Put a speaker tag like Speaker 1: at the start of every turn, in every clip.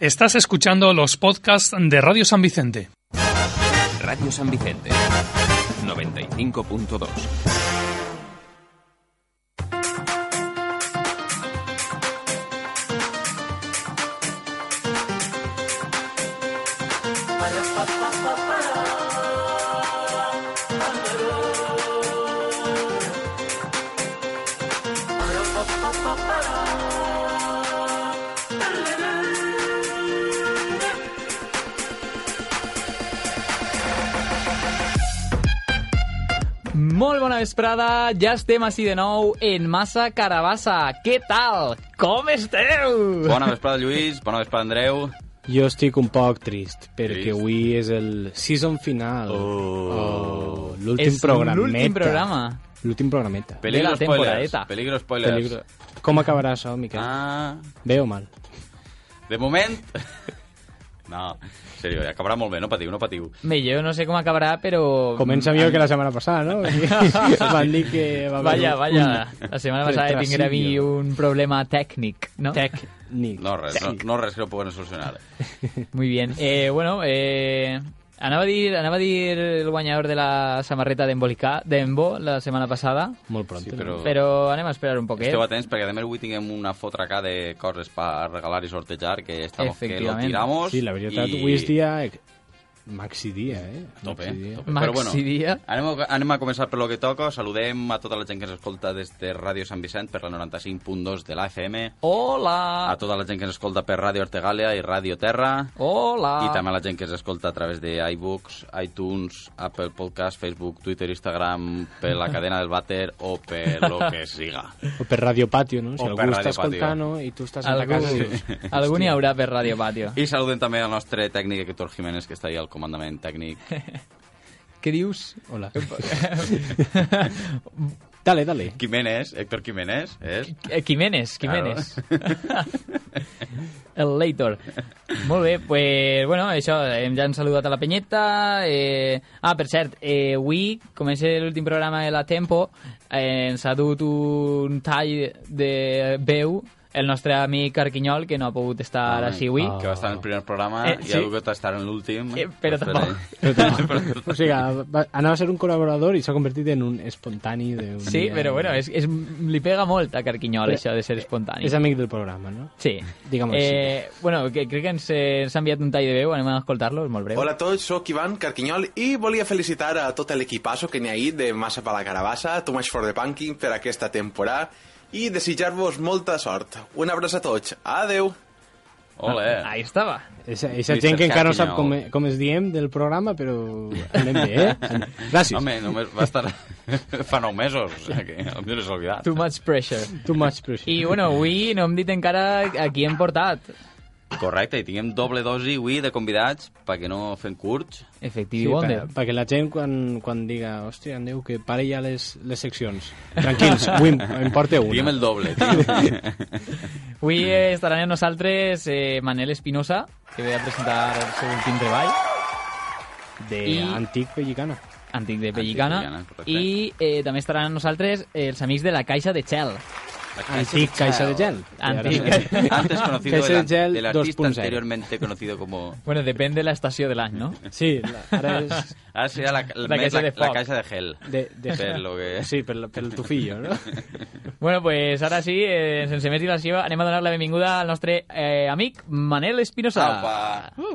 Speaker 1: Estás escuchando los podcasts de Radio San Vicente.
Speaker 2: Radio San Vicente, 95.2.
Speaker 3: Molt bona vesprada, ja estem així de nou en Massa Carabassa. Què tal? Com esteu?
Speaker 2: Bona vesprada, Lluís. Bona vesprada, Andreu.
Speaker 4: Jo estic un poc trist, perquè
Speaker 2: Trist?
Speaker 4: avui és el season final.
Speaker 2: Oh.
Speaker 4: Oh, l'últim
Speaker 3: És
Speaker 4: programeta.
Speaker 3: l'últim programa.
Speaker 4: L'últim programeta.
Speaker 2: Peligro
Speaker 3: la
Speaker 2: spoilers.
Speaker 3: temporadeta.
Speaker 2: Peligro spoilers.
Speaker 4: Peligro. Com acabarà això, Miquel? Ah.
Speaker 2: Ah,
Speaker 4: Bé o mal?
Speaker 2: de moment... No, en serio, acabarà molt bé, no patiu, no patiu.
Speaker 3: Bé, jo no sé com acabarà, però...
Speaker 4: Comença millor que la setmana passada, no? Van dir que va haver
Speaker 3: Valla,
Speaker 4: un-
Speaker 3: valla. La setmana passada
Speaker 4: retrasillo.
Speaker 3: tingué a mi un problema tècnic, ¿no?
Speaker 4: Tècnic.
Speaker 2: No res, no, no res que no puguem solucionar.
Speaker 3: Muy bien. Eh, bueno, eh, anava a dir, anava a dir el guanyador de la samarreta d'Embolicar, d'Embo, la setmana passada,
Speaker 4: Molt pront. eh?
Speaker 2: Sí,
Speaker 4: Sí,
Speaker 2: però- este
Speaker 4: però...
Speaker 3: però anem a esperar un poquet.
Speaker 2: Esteu atents perquè també avui tinguem una fotra acá de coses per regalar i sortejar que estamos que lo
Speaker 3: Efectivament.
Speaker 2: tiramos.
Speaker 4: sí la veritat,
Speaker 2: i-
Speaker 4: avui és dia... eh, Maxi dia, eh?
Speaker 2: A Tope,
Speaker 4: Maxi
Speaker 2: a
Speaker 4: dia.
Speaker 2: tope.
Speaker 3: Maxi
Speaker 2: Però bueno,
Speaker 3: dia.
Speaker 2: anem a, anem a començar per lo que toca. Saludem a tota la gent que ens escolta des de Ràdio Sant Vicent per la 95.2 de la FM,
Speaker 3: Hola!
Speaker 2: a tota la gent que ens escolta per Ràdio Artegàlia i Ràdio Terra,
Speaker 3: Hola!
Speaker 2: i també a la gent que ens escolta a través de iBooks, iTunes, Apple Podcast, Facebook, Twitter, Instagram, per la cadena del vàter o per lo que siga.
Speaker 4: O per Radio Patio, no? Si
Speaker 2: O
Speaker 4: algú
Speaker 2: per
Speaker 4: està
Speaker 2: Radio Patio.
Speaker 4: escoltant i tu estàs a la
Speaker 3: Algú,
Speaker 4: casa... dius,
Speaker 3: algú n'hi haurà per Radio Patio.
Speaker 2: I saludem també al nostre tècnic, Héctor Jiménez, que està ahí al comandament tècnic.
Speaker 3: Què dius?
Speaker 4: Hola. dale, dale.
Speaker 2: Jiménez, Héctor Jiménez, és?
Speaker 3: Eh, Quiménez, Quiménez. El Leitor. Molt bé, pues, bueno, això, eh, ja hem saludat a la penyeta. Eh... Ah, per cert, eh, avui, com és l'últim programa de la Tempo, eh, ens ha dut un tall de veu el nostre amic Arquinyol, que no ha pogut estar
Speaker 2: Ai,
Speaker 3: així avui.
Speaker 4: ah.
Speaker 2: Que va estar en el primer programa
Speaker 3: Eh,
Speaker 2: i
Speaker 3: sí.
Speaker 2: ha hagut d'estar en l'últim.
Speaker 3: Eh, però tampoc.
Speaker 4: O sigui, va- anava a ser un col·laborador i s'ha convertit en un espontani d'un
Speaker 3: Sí,
Speaker 4: dia.
Speaker 3: però bueno, és, és, li pega molt a Carquinyol, això de ser espontani.
Speaker 4: És amic del programa, no?
Speaker 3: Sí.
Speaker 4: Digue'm així.
Speaker 3: eh, Bueno, que, crec que ens, eh, ens ha enviat un tall de veu, anem a escoltar-lo, és molt breu.
Speaker 5: Hola a tots, sóc Ivan Carquinyol i volia felicitar a tot l'equipasso que n'hi ha ahir de Massa per la Carabassa, Too Much for the Punking per aquesta temporada i desitjar-vos molta sort. Un abraç a tots. Adeu!
Speaker 2: eh. Ole.
Speaker 3: Ahí estava.
Speaker 4: Eixa, eixa
Speaker 2: Mr.
Speaker 4: gent que encara no sap
Speaker 2: Carquinyol.
Speaker 4: com, e, com es diem del programa, però anem bé, eh? Gràcies.
Speaker 2: Home, només va estar fa nou mesos, o sigui que potser s'ha oblidat.
Speaker 3: Too much pressure.
Speaker 4: Too much pressure.
Speaker 3: I, bueno, avui no hem dit encara a qui hem portat.
Speaker 2: Correcte, i tinguem doble dosi avui de convidats perquè no fem curts.
Speaker 3: Efectivi
Speaker 4: Sí,
Speaker 3: sí,
Speaker 4: perquè,
Speaker 3: Wonder.
Speaker 4: perquè la gent quan, quan diga hòstia, em diu que pare ja les, les seccions tranquils, avui em, em porta una
Speaker 2: Diguem el doble, tio.
Speaker 3: Avui eh, estaran amb nosaltres eh, Manel Espinosa, que ve a presentar el seu últim treball,
Speaker 4: de
Speaker 3: i-
Speaker 4: antic pellicana
Speaker 3: antic de Pellicana,
Speaker 2: Pellicana, correcte.
Speaker 3: i eh, també estaran amb nosaltres els amics de la Caixa de Xel.
Speaker 2: Ah,
Speaker 4: antic caixa de gel
Speaker 3: Antic.
Speaker 4: I ara sí.
Speaker 2: Antes conocido
Speaker 4: Caixa
Speaker 2: del,
Speaker 4: de gel
Speaker 2: del artista
Speaker 4: 2.0.
Speaker 2: anteriormente conocido como...
Speaker 3: Bueno, depèn de l'estació de l'any, no?
Speaker 4: sí, la- ara és
Speaker 2: Ara serà Ah, la, la,
Speaker 3: La
Speaker 2: més
Speaker 3: caixa
Speaker 2: la,
Speaker 3: de
Speaker 2: la
Speaker 3: foc.
Speaker 2: caixa de gel.
Speaker 4: de, de...
Speaker 2: Per lo que...
Speaker 4: sí, per, la- per el tufillo no?
Speaker 3: Bueno, pues ara sí, eh, sense més dilació, anem a donar la benvinguda al nostre eh, amic Manel Espinosa.
Speaker 2: Apa!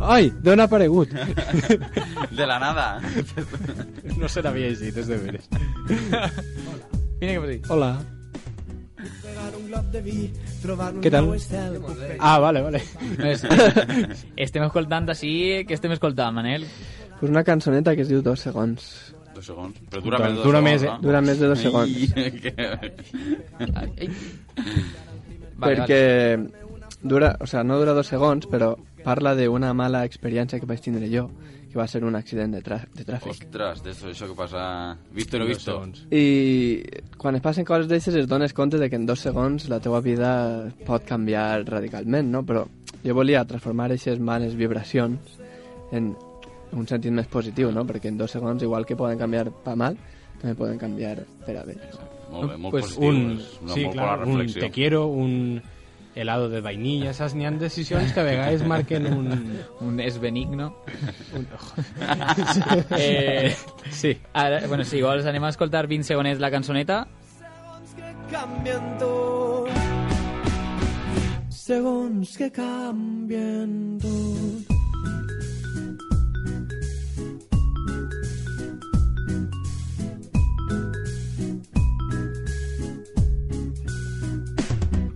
Speaker 4: ai, d'on ha aparegut
Speaker 2: De la nada.
Speaker 4: no se l'havia llegit, és de veres
Speaker 3: Vine que posi.
Speaker 4: hola
Speaker 6: Pegar un glob de vi, trobar un
Speaker 4: Què tal?
Speaker 6: nou estel, puc fer
Speaker 4: ah, vale, vale
Speaker 3: Més. Estem escoltant així, que estem escoltant, Manel?
Speaker 7: Pues una cançoneta que es diu Dos segons.
Speaker 2: Dos segons. Però dura
Speaker 4: Doncs
Speaker 2: més de dos segons,
Speaker 4: dura més, eh?
Speaker 2: no?
Speaker 7: Dura més de dos segons.
Speaker 2: Ai, que-
Speaker 3: Ai.
Speaker 7: Vale, perquè dura, o sea, no dura dos segons, però parla d'una mala experiència que vaig tindre jo, que va ser un accident de, trà- de tràfic.
Speaker 2: Ostres, d'això això que passa... Visto i no visto.
Speaker 4: Segons.
Speaker 7: I quan es passen coses d'aixes es dones compte de que en dos segons la teua vida pot canviar radicalment, no? Però jo volia transformar aquestes males vibracions en un sentit més positiu, no? Perquè en dos segons, igual que poden canviar pa mal, també poden canviar per a bé.
Speaker 2: Molt bé, molt
Speaker 4: Pues
Speaker 2: positiu.
Speaker 4: un,
Speaker 2: és una
Speaker 4: sí,
Speaker 2: molt
Speaker 4: clar,
Speaker 2: bona
Speaker 4: un
Speaker 2: reflexió.
Speaker 4: te quiero, un helado de vainilla, saps? N'hi ha decisions que a vegades marquen un...
Speaker 3: Un és benigno.
Speaker 4: un...
Speaker 3: Eh,
Speaker 4: Sí.
Speaker 3: ara, bueno, si vols anem a escoltar 20 segonets la cançoneta.
Speaker 6: Segons que canvien tot. Segons que canvien tot.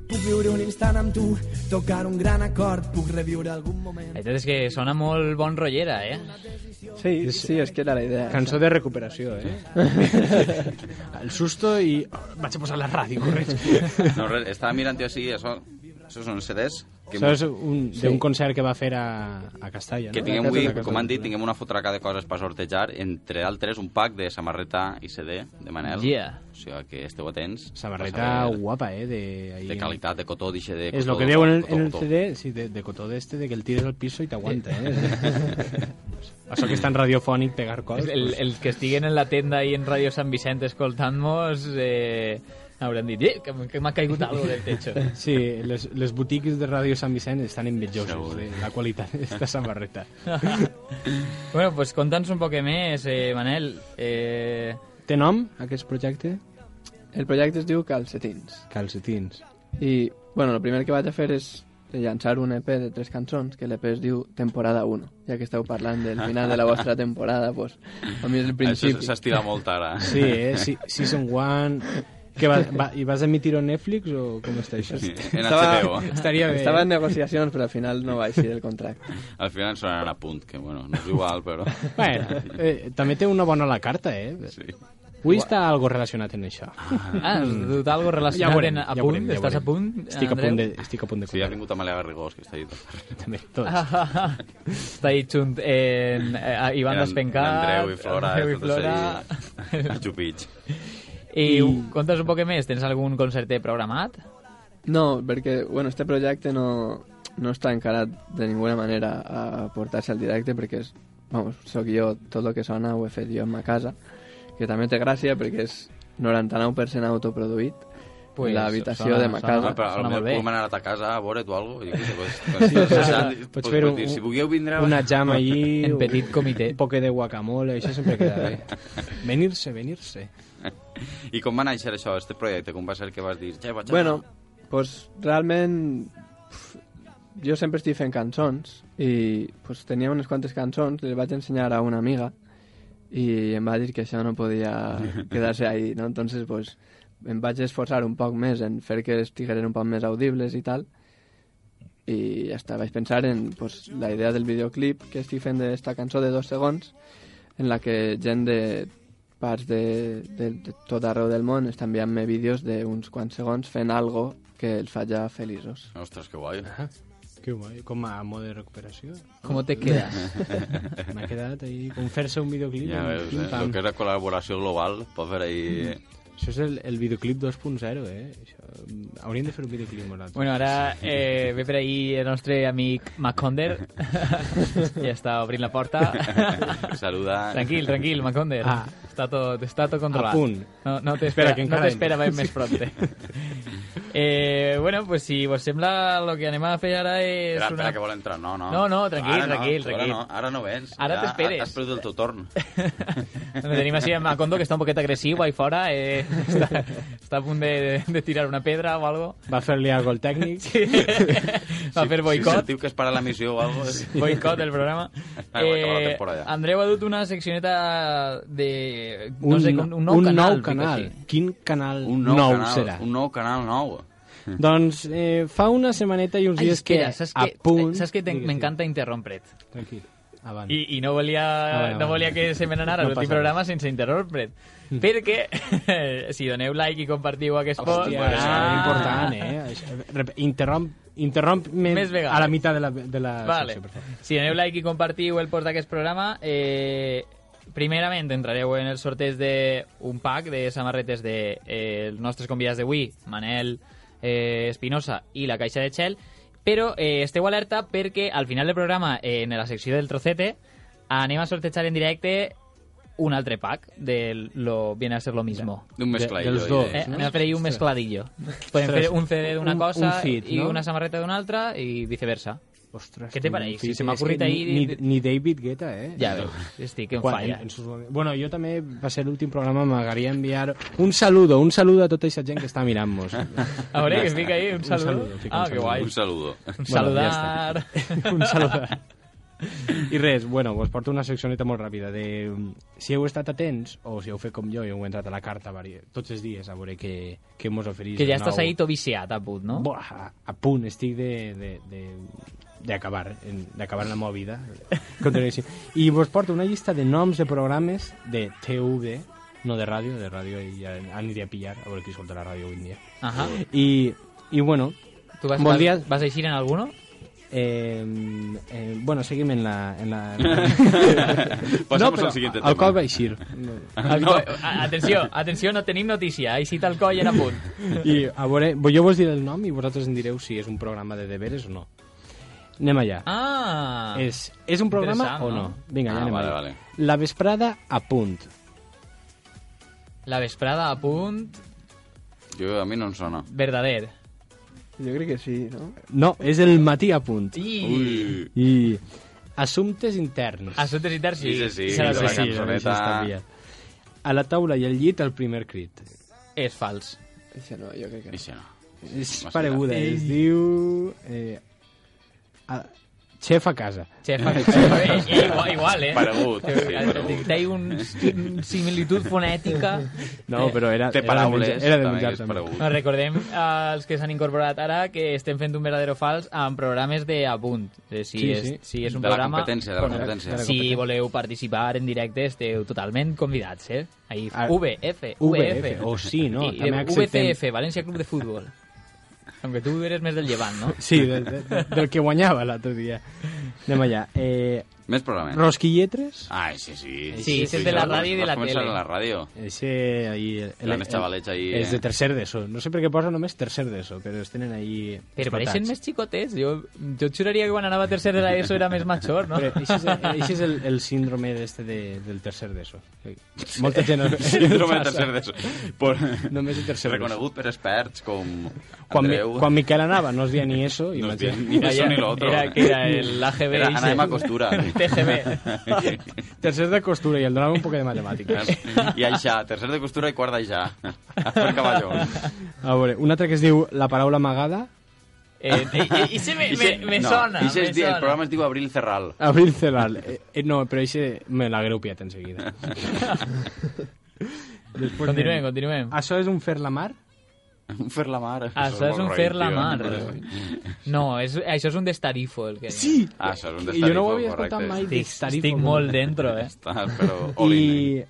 Speaker 6: Puc viure un instant amb tu, tocar un gran acord, puc reviure algun
Speaker 3: La
Speaker 6: moment.
Speaker 3: veritat és que sona molt bon rotllera, eh?
Speaker 7: Sí, sí, es que era la idea.
Speaker 4: Cançó de recuperació, eh? El susto i... Vaig a posar la ràdio, correcte.
Speaker 8: No, res, estava mirant jo així, això, això són CDs que,
Speaker 4: Això és un, d'un concert que va fer a, a Castalla,
Speaker 8: que
Speaker 4: no?
Speaker 8: tinguem
Speaker 4: A casa
Speaker 8: avui,
Speaker 4: de Castalla.
Speaker 8: com han dit, tinguem una fotraca de coses per sortejar, entre altres un pack de samarreta i CD de Manel.
Speaker 3: Yeah.
Speaker 8: O sigui que esteu atents.
Speaker 4: Samarreta
Speaker 8: Vas a veure
Speaker 4: guapa, eh? De, ahí-
Speaker 8: De qualitat, de cotó, dixe de cotó.
Speaker 4: Es lo que digo en el,
Speaker 8: cotó,
Speaker 4: en el
Speaker 8: cotó.
Speaker 4: CD, sí, de, de cotó de este, de que el tires al piso y te aguanta, ¿eh? Eso que es tan radiofónico pegar cosas.
Speaker 3: El, els que estiguen en la tenda i en Ràdio Sant Vicent escoltant-nos eh, hauran dit eh, que, que m'ha caigut alguna del techo.
Speaker 4: Sí, les, les boutiques de Radio San Vicente están envidiosas
Speaker 8: Segur.
Speaker 4: de eh, la cualidad de esta samarreta.
Speaker 3: bueno, pues conta'ns un poc més, eh, Manel. Eh,
Speaker 4: Té nom, aquest projecte?
Speaker 7: El projecte es diu Calcetins.
Speaker 4: Calcetins.
Speaker 7: I, bueno, el primer que vaig a fer és llançar un EP de tres cançons, que l'EP es diu Temporada 1, ja que esteu parlant del final de la vostra temporada, pues, a mi és el
Speaker 8: Això
Speaker 7: principi.
Speaker 8: s'estira molt ara.
Speaker 4: Sí, eh? Sí, season 1... Que va, va, I vas emitir a Netflix o com està això?
Speaker 8: Sí, en
Speaker 7: Estava-
Speaker 8: HBO.
Speaker 4: Estaria bé.
Speaker 7: Estava en negociacions, però al final no va així el contracte.
Speaker 8: Al final sonaran a punt, que bueno, no és igual, però...
Speaker 4: Bueno, eh, també té una bona la carta, eh?
Speaker 8: Sí.
Speaker 4: Avui està algo relacionat en això.
Speaker 3: ah, has dut alguna cosa relacionat
Speaker 4: Ja veurem,
Speaker 3: en, a
Speaker 4: ja
Speaker 3: punt?
Speaker 4: veurem, ja
Speaker 3: Estàs a
Speaker 4: veurem.
Speaker 3: punt,
Speaker 4: Estic a punt de, estic a punt de
Speaker 8: Sí, ha vingut Amalia Garrigós, que està allà.
Speaker 4: També, tots.
Speaker 3: Ah, Està ahí xunt eh, en, eh, a Ivan
Speaker 8: En-
Speaker 3: Despencat,
Speaker 8: en Andreu i Flora,
Speaker 3: Andreu i
Speaker 4: eh,
Speaker 8: totes
Speaker 3: Flora.
Speaker 8: allí, a Chupich.
Speaker 3: I conta'ns un poc més, tens algun concertet programat?
Speaker 7: No, perquè, bueno, este projecte no, no està encarat de ninguna manera a portar-se al directe, perquè és, vamos, sóc jo, tot el que sona ho he fet jo en ma casa, que també té gràcia perquè és 99% autoproduït, pues, l'habitació
Speaker 3: sona-
Speaker 7: de ma
Speaker 3: sona-
Speaker 7: casa.
Speaker 8: Ah, però
Speaker 3: sona
Speaker 8: potser
Speaker 3: molt bé.
Speaker 8: podem anar a ta casa a veure't o alguna cosa. Sí,
Speaker 4: Pots fer un,
Speaker 8: Si vulgueu vindre...
Speaker 4: una jam
Speaker 8: Ah.
Speaker 4: allí...
Speaker 3: En petit comitè.
Speaker 4: Un poquet de guacamole, això sempre queda bé. Venir-se, venir-se.
Speaker 8: I com va néixer això, este projecte? Com va ser que vas dir... "Ja, vaig a-"
Speaker 7: Bueno, pues realment pf, jo sempre estic fent cançons i pues, tenia unes quantes cançons, les vaig ensenyar a una amiga i em va dir que això no podia quedar-se ahí, no? Entonces, pues, em vaig esforçar un poc més en fer que estigueren un poc més audibles i tal i ja està, vaig pensar en pues, la idea del videoclip que estic fent d'esta cançó de dos segons en la que gent de parts de, de, de tot arreu del món està enviant-me vídeos d'uns quants segons fent algo que els fa ja feliços.
Speaker 8: Ostres, que guai.
Speaker 4: Que guai, com a mode de recuperació.
Speaker 3: Com te quedas?
Speaker 4: M'ha quedat ahí, com fer-se un videoclip.
Speaker 8: Ja
Speaker 4: un
Speaker 8: veus, eh?
Speaker 4: pim-pam.
Speaker 8: El que és la col·laboració global pot fer ahí...
Speaker 4: Això és el, el videoclip 2.0, eh? Això, hauríem de fer un videoclip nosaltres.
Speaker 3: Bueno, ara eh, ve per ahir el nostre amic Maconder. ja està obrint la porta.
Speaker 8: Saluda...
Speaker 3: tranquil, tranquil, Maconder.
Speaker 4: Ah.
Speaker 3: Està tot, està tot controlat.
Speaker 4: A punt.
Speaker 3: No, no
Speaker 4: Espera,
Speaker 3: t'espera
Speaker 4: que
Speaker 3: no
Speaker 4: encara
Speaker 3: t'espera ben més prompte. eh, bueno, pues si vos sembla, lo que anem a fer ara és
Speaker 8: Espera,
Speaker 3: una...
Speaker 8: espera, que vol entrar. No, no.
Speaker 3: No, no, tranquil,
Speaker 8: Ara no,
Speaker 3: tranquil, tranquil.
Speaker 8: Ara no, ara no vens.
Speaker 3: Ara
Speaker 8: Ja
Speaker 3: t'esperes.
Speaker 8: Has perdut el teu torn.
Speaker 3: Bueno, tenim així a Macondo, que està un poquet agressiu ahí fora. Eh, està, està a punt de, de tirar una pedra o algo.
Speaker 4: Va fer-li algo al tècnic.
Speaker 3: Va fer
Speaker 8: Si
Speaker 3: boicot.
Speaker 8: sentiu que es para la missió o alguna cosa...
Speaker 3: boicot del programa.
Speaker 8: Ah, va acabar la temporada.
Speaker 3: Andreu ha dut una seccioneta de... No sé, un, un nou
Speaker 4: un
Speaker 3: canal.
Speaker 4: Nou canal.
Speaker 3: dic així.
Speaker 4: Quin canal
Speaker 8: Un nou, canal,
Speaker 4: serà?
Speaker 8: Un nou canal nou.
Speaker 4: Doncs eh, fa una setmaneta i uns
Speaker 3: Ai,
Speaker 4: dies
Speaker 3: espera,
Speaker 4: que,
Speaker 3: saps
Speaker 4: a
Speaker 3: que,
Speaker 4: punt...
Speaker 3: saps que te-
Speaker 4: Digues,
Speaker 3: m'encanta interrompre't.
Speaker 4: digues. Tranquil, avant.
Speaker 3: I, I no volia,
Speaker 4: Ah, vale,
Speaker 3: no
Speaker 4: vale.
Speaker 3: volia que se me n'anara
Speaker 4: No
Speaker 3: no l'últim
Speaker 4: passa
Speaker 3: programa sense interrompre't. Perquè si doneu like i compartiu aquest post...
Speaker 4: Hòstia, això és
Speaker 3: ah.
Speaker 4: important, eh? Això- rep- Interromp, interromp
Speaker 3: Més vegades.
Speaker 4: a la meitat de la, de la
Speaker 3: Vale.
Speaker 4: secció, per favor.
Speaker 3: Si doneu like i compartiu el post d'aquest programa, eh, primerament entrareu en el sorteig d'un pack de samarretes de eh, els nostres convidats d'avui, Manel eh, Espinosa i la Caixa de Shell, però eh, esteu alerta perquè al final del programa, eh, en la secció del trocete, anem a sortejar en directe un altre pack de lo viene a ser lo mismo.
Speaker 8: De un mezcladillo.
Speaker 4: dels
Speaker 8: ahí
Speaker 4: dos,
Speaker 8: de-
Speaker 3: Eh, me hace ahí un mezcladillo. Pueden
Speaker 4: Ostras.
Speaker 3: hacer un CD de una
Speaker 4: Un-
Speaker 3: cosa
Speaker 4: un feed,
Speaker 3: y
Speaker 4: ¿no?
Speaker 3: una samarreta de una otra y viceversa.
Speaker 4: Ostres,
Speaker 3: eh, ¿Qué te
Speaker 4: un
Speaker 3: parece?
Speaker 4: fit.
Speaker 3: Si se m'ha
Speaker 4: És que
Speaker 3: ocurrit
Speaker 4: ni-
Speaker 3: ahir-
Speaker 4: Ni, ni David Guetta, eh?
Speaker 3: Ya ves, estoy que en
Speaker 4: Quan-
Speaker 3: falla.
Speaker 4: en sus- Bueno, jo també, va ser l'últim programa, m'agradaria enviar un saludo, un saludo a tota aquesta gent que està mirant-nos.
Speaker 3: Ahora que fica ahí un saludo.
Speaker 4: saludo, fica un
Speaker 3: ah, qué
Speaker 4: saludo.
Speaker 3: guay.
Speaker 8: Un saludo.
Speaker 3: Un
Speaker 4: Bueno, ja
Speaker 3: saludar.
Speaker 4: un saludo. I res, bueno, us porto una seccioneta molt ràpida de um, si heu estat atents o si heu fet com jo i heu entrat a la carta vari- tots els dies a veure què, què mos oferís.
Speaker 3: que
Speaker 4: de
Speaker 3: ya estás
Speaker 4: nou.
Speaker 3: ahí todo viciado, a put, ¿no?
Speaker 4: Buah, a, a punt estic de, de, de d'acabar, en- d'acabar la meva vida. Continuaré així. I vos porto una llista de noms de programes de TV, no de ràdio, de ràdio ja aniré a pillar, a veure qui escolta la ràdio avui en dia.
Speaker 3: Ajá.
Speaker 4: I, i bueno,
Speaker 3: ¿Tú vas,
Speaker 4: Bon
Speaker 3: vas-
Speaker 4: dia.
Speaker 3: vas a ir en alguno?
Speaker 4: eh, eh, bueno, seguim en la... En la...
Speaker 8: Pasamos
Speaker 4: però
Speaker 8: al siguiente
Speaker 4: El
Speaker 8: tema.
Speaker 4: cop va eixir.
Speaker 3: Alcoy- Ah, a- Atención, atención, no tenéis noticia. Ahí sí tal coll era punt.
Speaker 4: I a veure, jo vos diré el nom i vosaltres em direu si és un programa de deberes o no. Anem allà.
Speaker 3: Ah,
Speaker 4: És, és un programa
Speaker 3: Interessant,
Speaker 4: o no?
Speaker 3: no?
Speaker 4: Vinga,
Speaker 8: Ah,
Speaker 4: ja anem
Speaker 8: vale,
Speaker 4: allà.
Speaker 8: vale.
Speaker 4: La vesprada a punt.
Speaker 3: la vesprada a punt,
Speaker 8: Yo, a mí no me suena.
Speaker 3: verdader.
Speaker 7: Jo crec que sí, no?
Speaker 4: No, és el matí a punt.
Speaker 3: I...
Speaker 8: Uy.
Speaker 4: I assumptes interns.
Speaker 3: Assumptes interns, sí.
Speaker 8: Sí, sí, sí,
Speaker 3: Se la
Speaker 8: sí,
Speaker 3: dono.
Speaker 8: sí, sí. cançoneta.
Speaker 4: això està via. A la taula i al llit el primer crit.
Speaker 3: És fals.
Speaker 7: Això no, jo crec que no.
Speaker 8: Ese no.
Speaker 4: És
Speaker 8: Massa
Speaker 4: pareguda. Es diu... Eh, a, xef a casa.
Speaker 3: Chef, eh, eh, igual, igual, eh?
Speaker 8: Paregut, sí, paregut.
Speaker 3: Hay una similitud fonètica.
Speaker 4: No, però era,
Speaker 8: Té
Speaker 4: era, de
Speaker 8: paraules,
Speaker 4: menjar- Eh, era de
Speaker 8: també,
Speaker 4: menjar
Speaker 8: que és
Speaker 4: també.
Speaker 8: paregut.
Speaker 3: No, Doncs recordem als que s'han incorporat ara que estem fent un verdadero fals amb programes de apunt. Eh, Si,
Speaker 4: Sí,
Speaker 3: és,
Speaker 4: sí.
Speaker 3: si és un
Speaker 8: De la
Speaker 3: programa...
Speaker 8: competència, de la competència.
Speaker 3: Si voleu participar en directe, esteu totalment convidats, eh? Ahí,
Speaker 4: Ah,
Speaker 3: VF,
Speaker 4: VF,
Speaker 3: VF.
Speaker 4: o sí, no?
Speaker 3: I,
Speaker 4: També
Speaker 3: eh,
Speaker 4: acceptem...
Speaker 3: VCF, València Club de Futbol. Aunque tu eres més del llevant, no?
Speaker 4: Sí, de, de, de, del que guanyava l'altre dia. Anem allà. Eh,
Speaker 8: Més programes.
Speaker 4: Rosquilletres.
Speaker 8: Ay, sí, sí.
Speaker 3: Sí, ese es de la radio y de
Speaker 8: Vas
Speaker 3: la
Speaker 8: a comenzar
Speaker 3: tele.
Speaker 8: en la radio.
Speaker 4: Ese ahí... El,
Speaker 8: Gran xavalets ahí,
Speaker 4: És
Speaker 8: eh?
Speaker 4: de tercer d'ESO. No sé per què posa només tercer d'ESO, però els tenen ahí
Speaker 3: Però
Speaker 4: explotats.
Speaker 3: pareixen més xicotets. Jo, jo et juraria que quan anava a tercer de l'ESO era més major, no?
Speaker 4: Però això és, això és el, el síndrome este de, del tercer d'ESO. Molta gent...
Speaker 8: Síndrome de tercer d'ESO. Por...
Speaker 4: Només de tercer d'ESO.
Speaker 8: Reconegut per experts com
Speaker 4: Quan, mi,
Speaker 8: Andreu.
Speaker 4: quan Miquel anava no es deia ni ESO,
Speaker 8: No es
Speaker 4: imagina.
Speaker 8: deia ni eso ni lo otro.
Speaker 3: Era que era el AGB.
Speaker 8: Era
Speaker 3: ese.
Speaker 8: Ana de Macostura.
Speaker 3: TGB.
Speaker 4: Tercer de costura i el donava un poc de matemàtiques.
Speaker 8: I això, tercer de costura i quart d'aixà. Per cavalló.
Speaker 4: A veure, un altre que es diu La paraula amagada,
Speaker 3: Eh, eh, eh, I se me, me,
Speaker 8: Ixe-
Speaker 3: me
Speaker 8: no,
Speaker 3: sona,
Speaker 8: ixe
Speaker 3: me
Speaker 8: es di-
Speaker 3: sona.
Speaker 8: El programa es diu Abril Cerral.
Speaker 4: Abril Celal. Eh, eh, no, però això me l'ha greupiat en seguida. Després
Speaker 3: Continuem,
Speaker 4: anem.
Speaker 3: continuem.
Speaker 4: Això és un fer la mar?
Speaker 8: Un fer la mar.
Speaker 3: Ah, Això és
Speaker 8: molt
Speaker 3: un
Speaker 8: roïn,
Speaker 3: fer la
Speaker 8: tio.
Speaker 3: mar. eh. No, és, això és un destarifo. El que
Speaker 8: Ah, això és un
Speaker 4: I jo no
Speaker 8: destarifo,
Speaker 4: ho havia
Speaker 8: correcte.
Speaker 4: escoltat mai.
Speaker 3: Estic,
Speaker 4: destarifo.
Speaker 3: estic molt dentro, eh?
Speaker 8: Està, Ah, però... all in.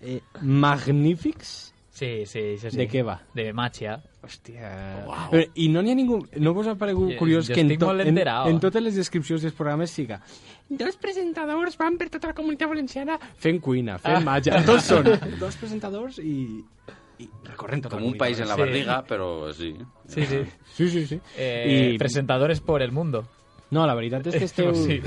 Speaker 4: I eh, Magnífics?
Speaker 3: Sí, sí, això sí.
Speaker 4: De què va?
Speaker 3: De màgia.
Speaker 4: Hòstia... Wow. I no n'hi ha ningú... No vos ha paregut
Speaker 3: Jo-
Speaker 4: curiós
Speaker 3: jo
Speaker 4: que en,
Speaker 3: estic molt
Speaker 4: en,
Speaker 3: enterao.
Speaker 4: en totes les descripcions dels programes siga dos presentadors van per tota la comunitat valenciana fent cuina, fent ah. màgia. Tots són dos presentadors i, i recorren tota
Speaker 8: Com
Speaker 4: la
Speaker 8: un
Speaker 4: comunitat
Speaker 8: país en la
Speaker 3: Sí.
Speaker 8: barriga, però sí.
Speaker 3: Sí, sí.
Speaker 4: Sí, sí, sí.
Speaker 3: Eh, Presentadores por el mundo.
Speaker 4: No, la veritat és que esteu...
Speaker 3: Sí.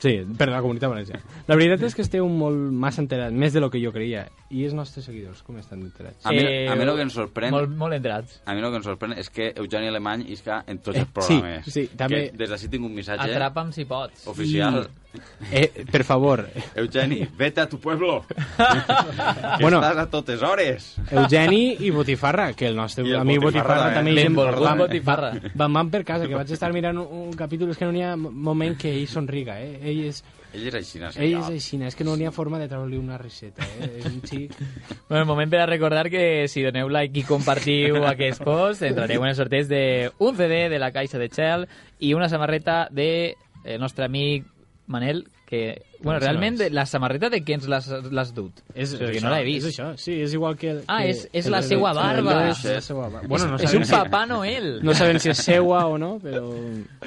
Speaker 4: sí, per la comunitat valenciana. La veritat és que esteu molt massa enterats, més de lo que jo creia. I els nostres seguidors, com estan enterats?
Speaker 8: A
Speaker 2: Ah.
Speaker 8: mi, a mi el que em sorprèn...
Speaker 3: Molt, molt entrats.
Speaker 8: A mi el que em sorprèn és que Eugeni Alemany isca en tots els
Speaker 4: Eh, sí,
Speaker 8: programes.
Speaker 4: sí, també-
Speaker 8: Que des d'ací tinc un missatge
Speaker 3: Atrapa'm si pots.
Speaker 8: oficial.
Speaker 4: Eh, per favor,
Speaker 8: Eugeni, vete a tu pueblo. que
Speaker 4: Bueno.
Speaker 8: estàs a totes hores.
Speaker 4: Eugeni i Botifarra, que el nostre
Speaker 8: I el
Speaker 4: amic Botifarra,
Speaker 8: Botifarra,
Speaker 4: també
Speaker 8: eh?
Speaker 4: hi hem
Speaker 8: Benvolgut
Speaker 4: parlat.
Speaker 3: Botifarra.
Speaker 4: Van, van per casa, que vaig estar mirant un, un capítol, és que no n'hi ha moment que ell somriga, eh? Ell és,
Speaker 8: Ell és així, no sé
Speaker 4: ell és així, és que no n'hi ha forma de treure-li una riseta, eh? És un xic...
Speaker 3: Bueno, el moment per a recordar que si doneu like i compartiu aquest post, entrareu en el sorteig de un CD de la Caixa de Shell i una samarreta de el nostre amic Manel, que... Bueno,
Speaker 4: Això
Speaker 3: realment,
Speaker 4: és.
Speaker 3: de la samarreta de què ens l'has l'has dut?
Speaker 4: És,
Speaker 3: Perquè no l'he vist.
Speaker 4: És això, sí, és igual que...
Speaker 3: Ah,
Speaker 4: que,
Speaker 3: és- és
Speaker 4: que
Speaker 3: la
Speaker 4: el-
Speaker 3: seua
Speaker 4: el-
Speaker 3: barba.
Speaker 4: És la seua barba. Bueno, no
Speaker 3: és un
Speaker 4: sabem si-
Speaker 3: Papà Noel.
Speaker 4: No sabem si és seua o no, però...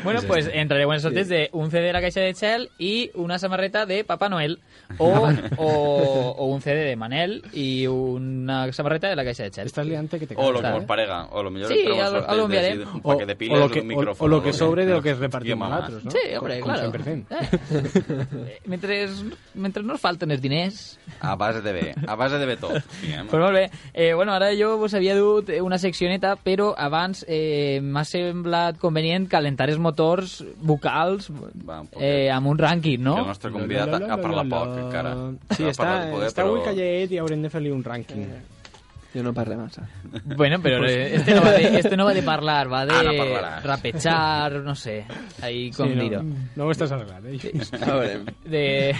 Speaker 3: Bueno, pues entrareu en el sorteig de un CD de la Caixa de Shell i una samarreta de Papà Noel o, o, o un CD de Manel i una samarreta de la Caixa de Shell.
Speaker 4: Estàs liante que te
Speaker 8: O lo que
Speaker 4: cagas,
Speaker 8: mos
Speaker 4: eh?
Speaker 8: parega. O lo millor
Speaker 3: Sí,
Speaker 8: entrem
Speaker 3: a lo-
Speaker 8: sorteig
Speaker 3: a lo
Speaker 8: de-
Speaker 3: enviarem.
Speaker 8: un paquet de piles,
Speaker 4: o, o, lo que,
Speaker 8: un
Speaker 4: o,
Speaker 8: micrófono.
Speaker 4: o lo que sobre de lo que repartim
Speaker 8: Hòstia, mamà.
Speaker 4: nosaltres, no?
Speaker 3: Sí, hombre,
Speaker 4: Com- com
Speaker 3: claro.
Speaker 4: sempre fem.
Speaker 3: Eh. eh, mentre, mentre no es falten els diners...
Speaker 2: A base de bé, a base de bé tot. diguem.
Speaker 3: Pues molt bé. Eh, bueno, ara jo vos havia dut una seccioneta, però abans eh, m'ha semblat convenient calentar els motors vocals
Speaker 2: Va, un poquet.
Speaker 3: eh, amb un rànquing, no?
Speaker 2: Que el nostre convidat
Speaker 4: La, la, la,
Speaker 2: ha parlat
Speaker 4: la, la.
Speaker 2: poc, encara.
Speaker 4: Sí,
Speaker 2: Ha
Speaker 4: està,
Speaker 2: parlat poquet,
Speaker 4: està
Speaker 2: però-
Speaker 4: avui callet i haurem de fer-li un rànquing.
Speaker 7: Jo no parlo massa.
Speaker 3: Bueno, pero eh, este, no va de, este no va de parlar, va de
Speaker 2: Ah, no parlaràs.
Speaker 3: rapechar, no sé, ahí con
Speaker 4: no,
Speaker 3: Miro.
Speaker 4: no ho estàs arreglat, eh? Lluís?
Speaker 7: A veure,
Speaker 3: De,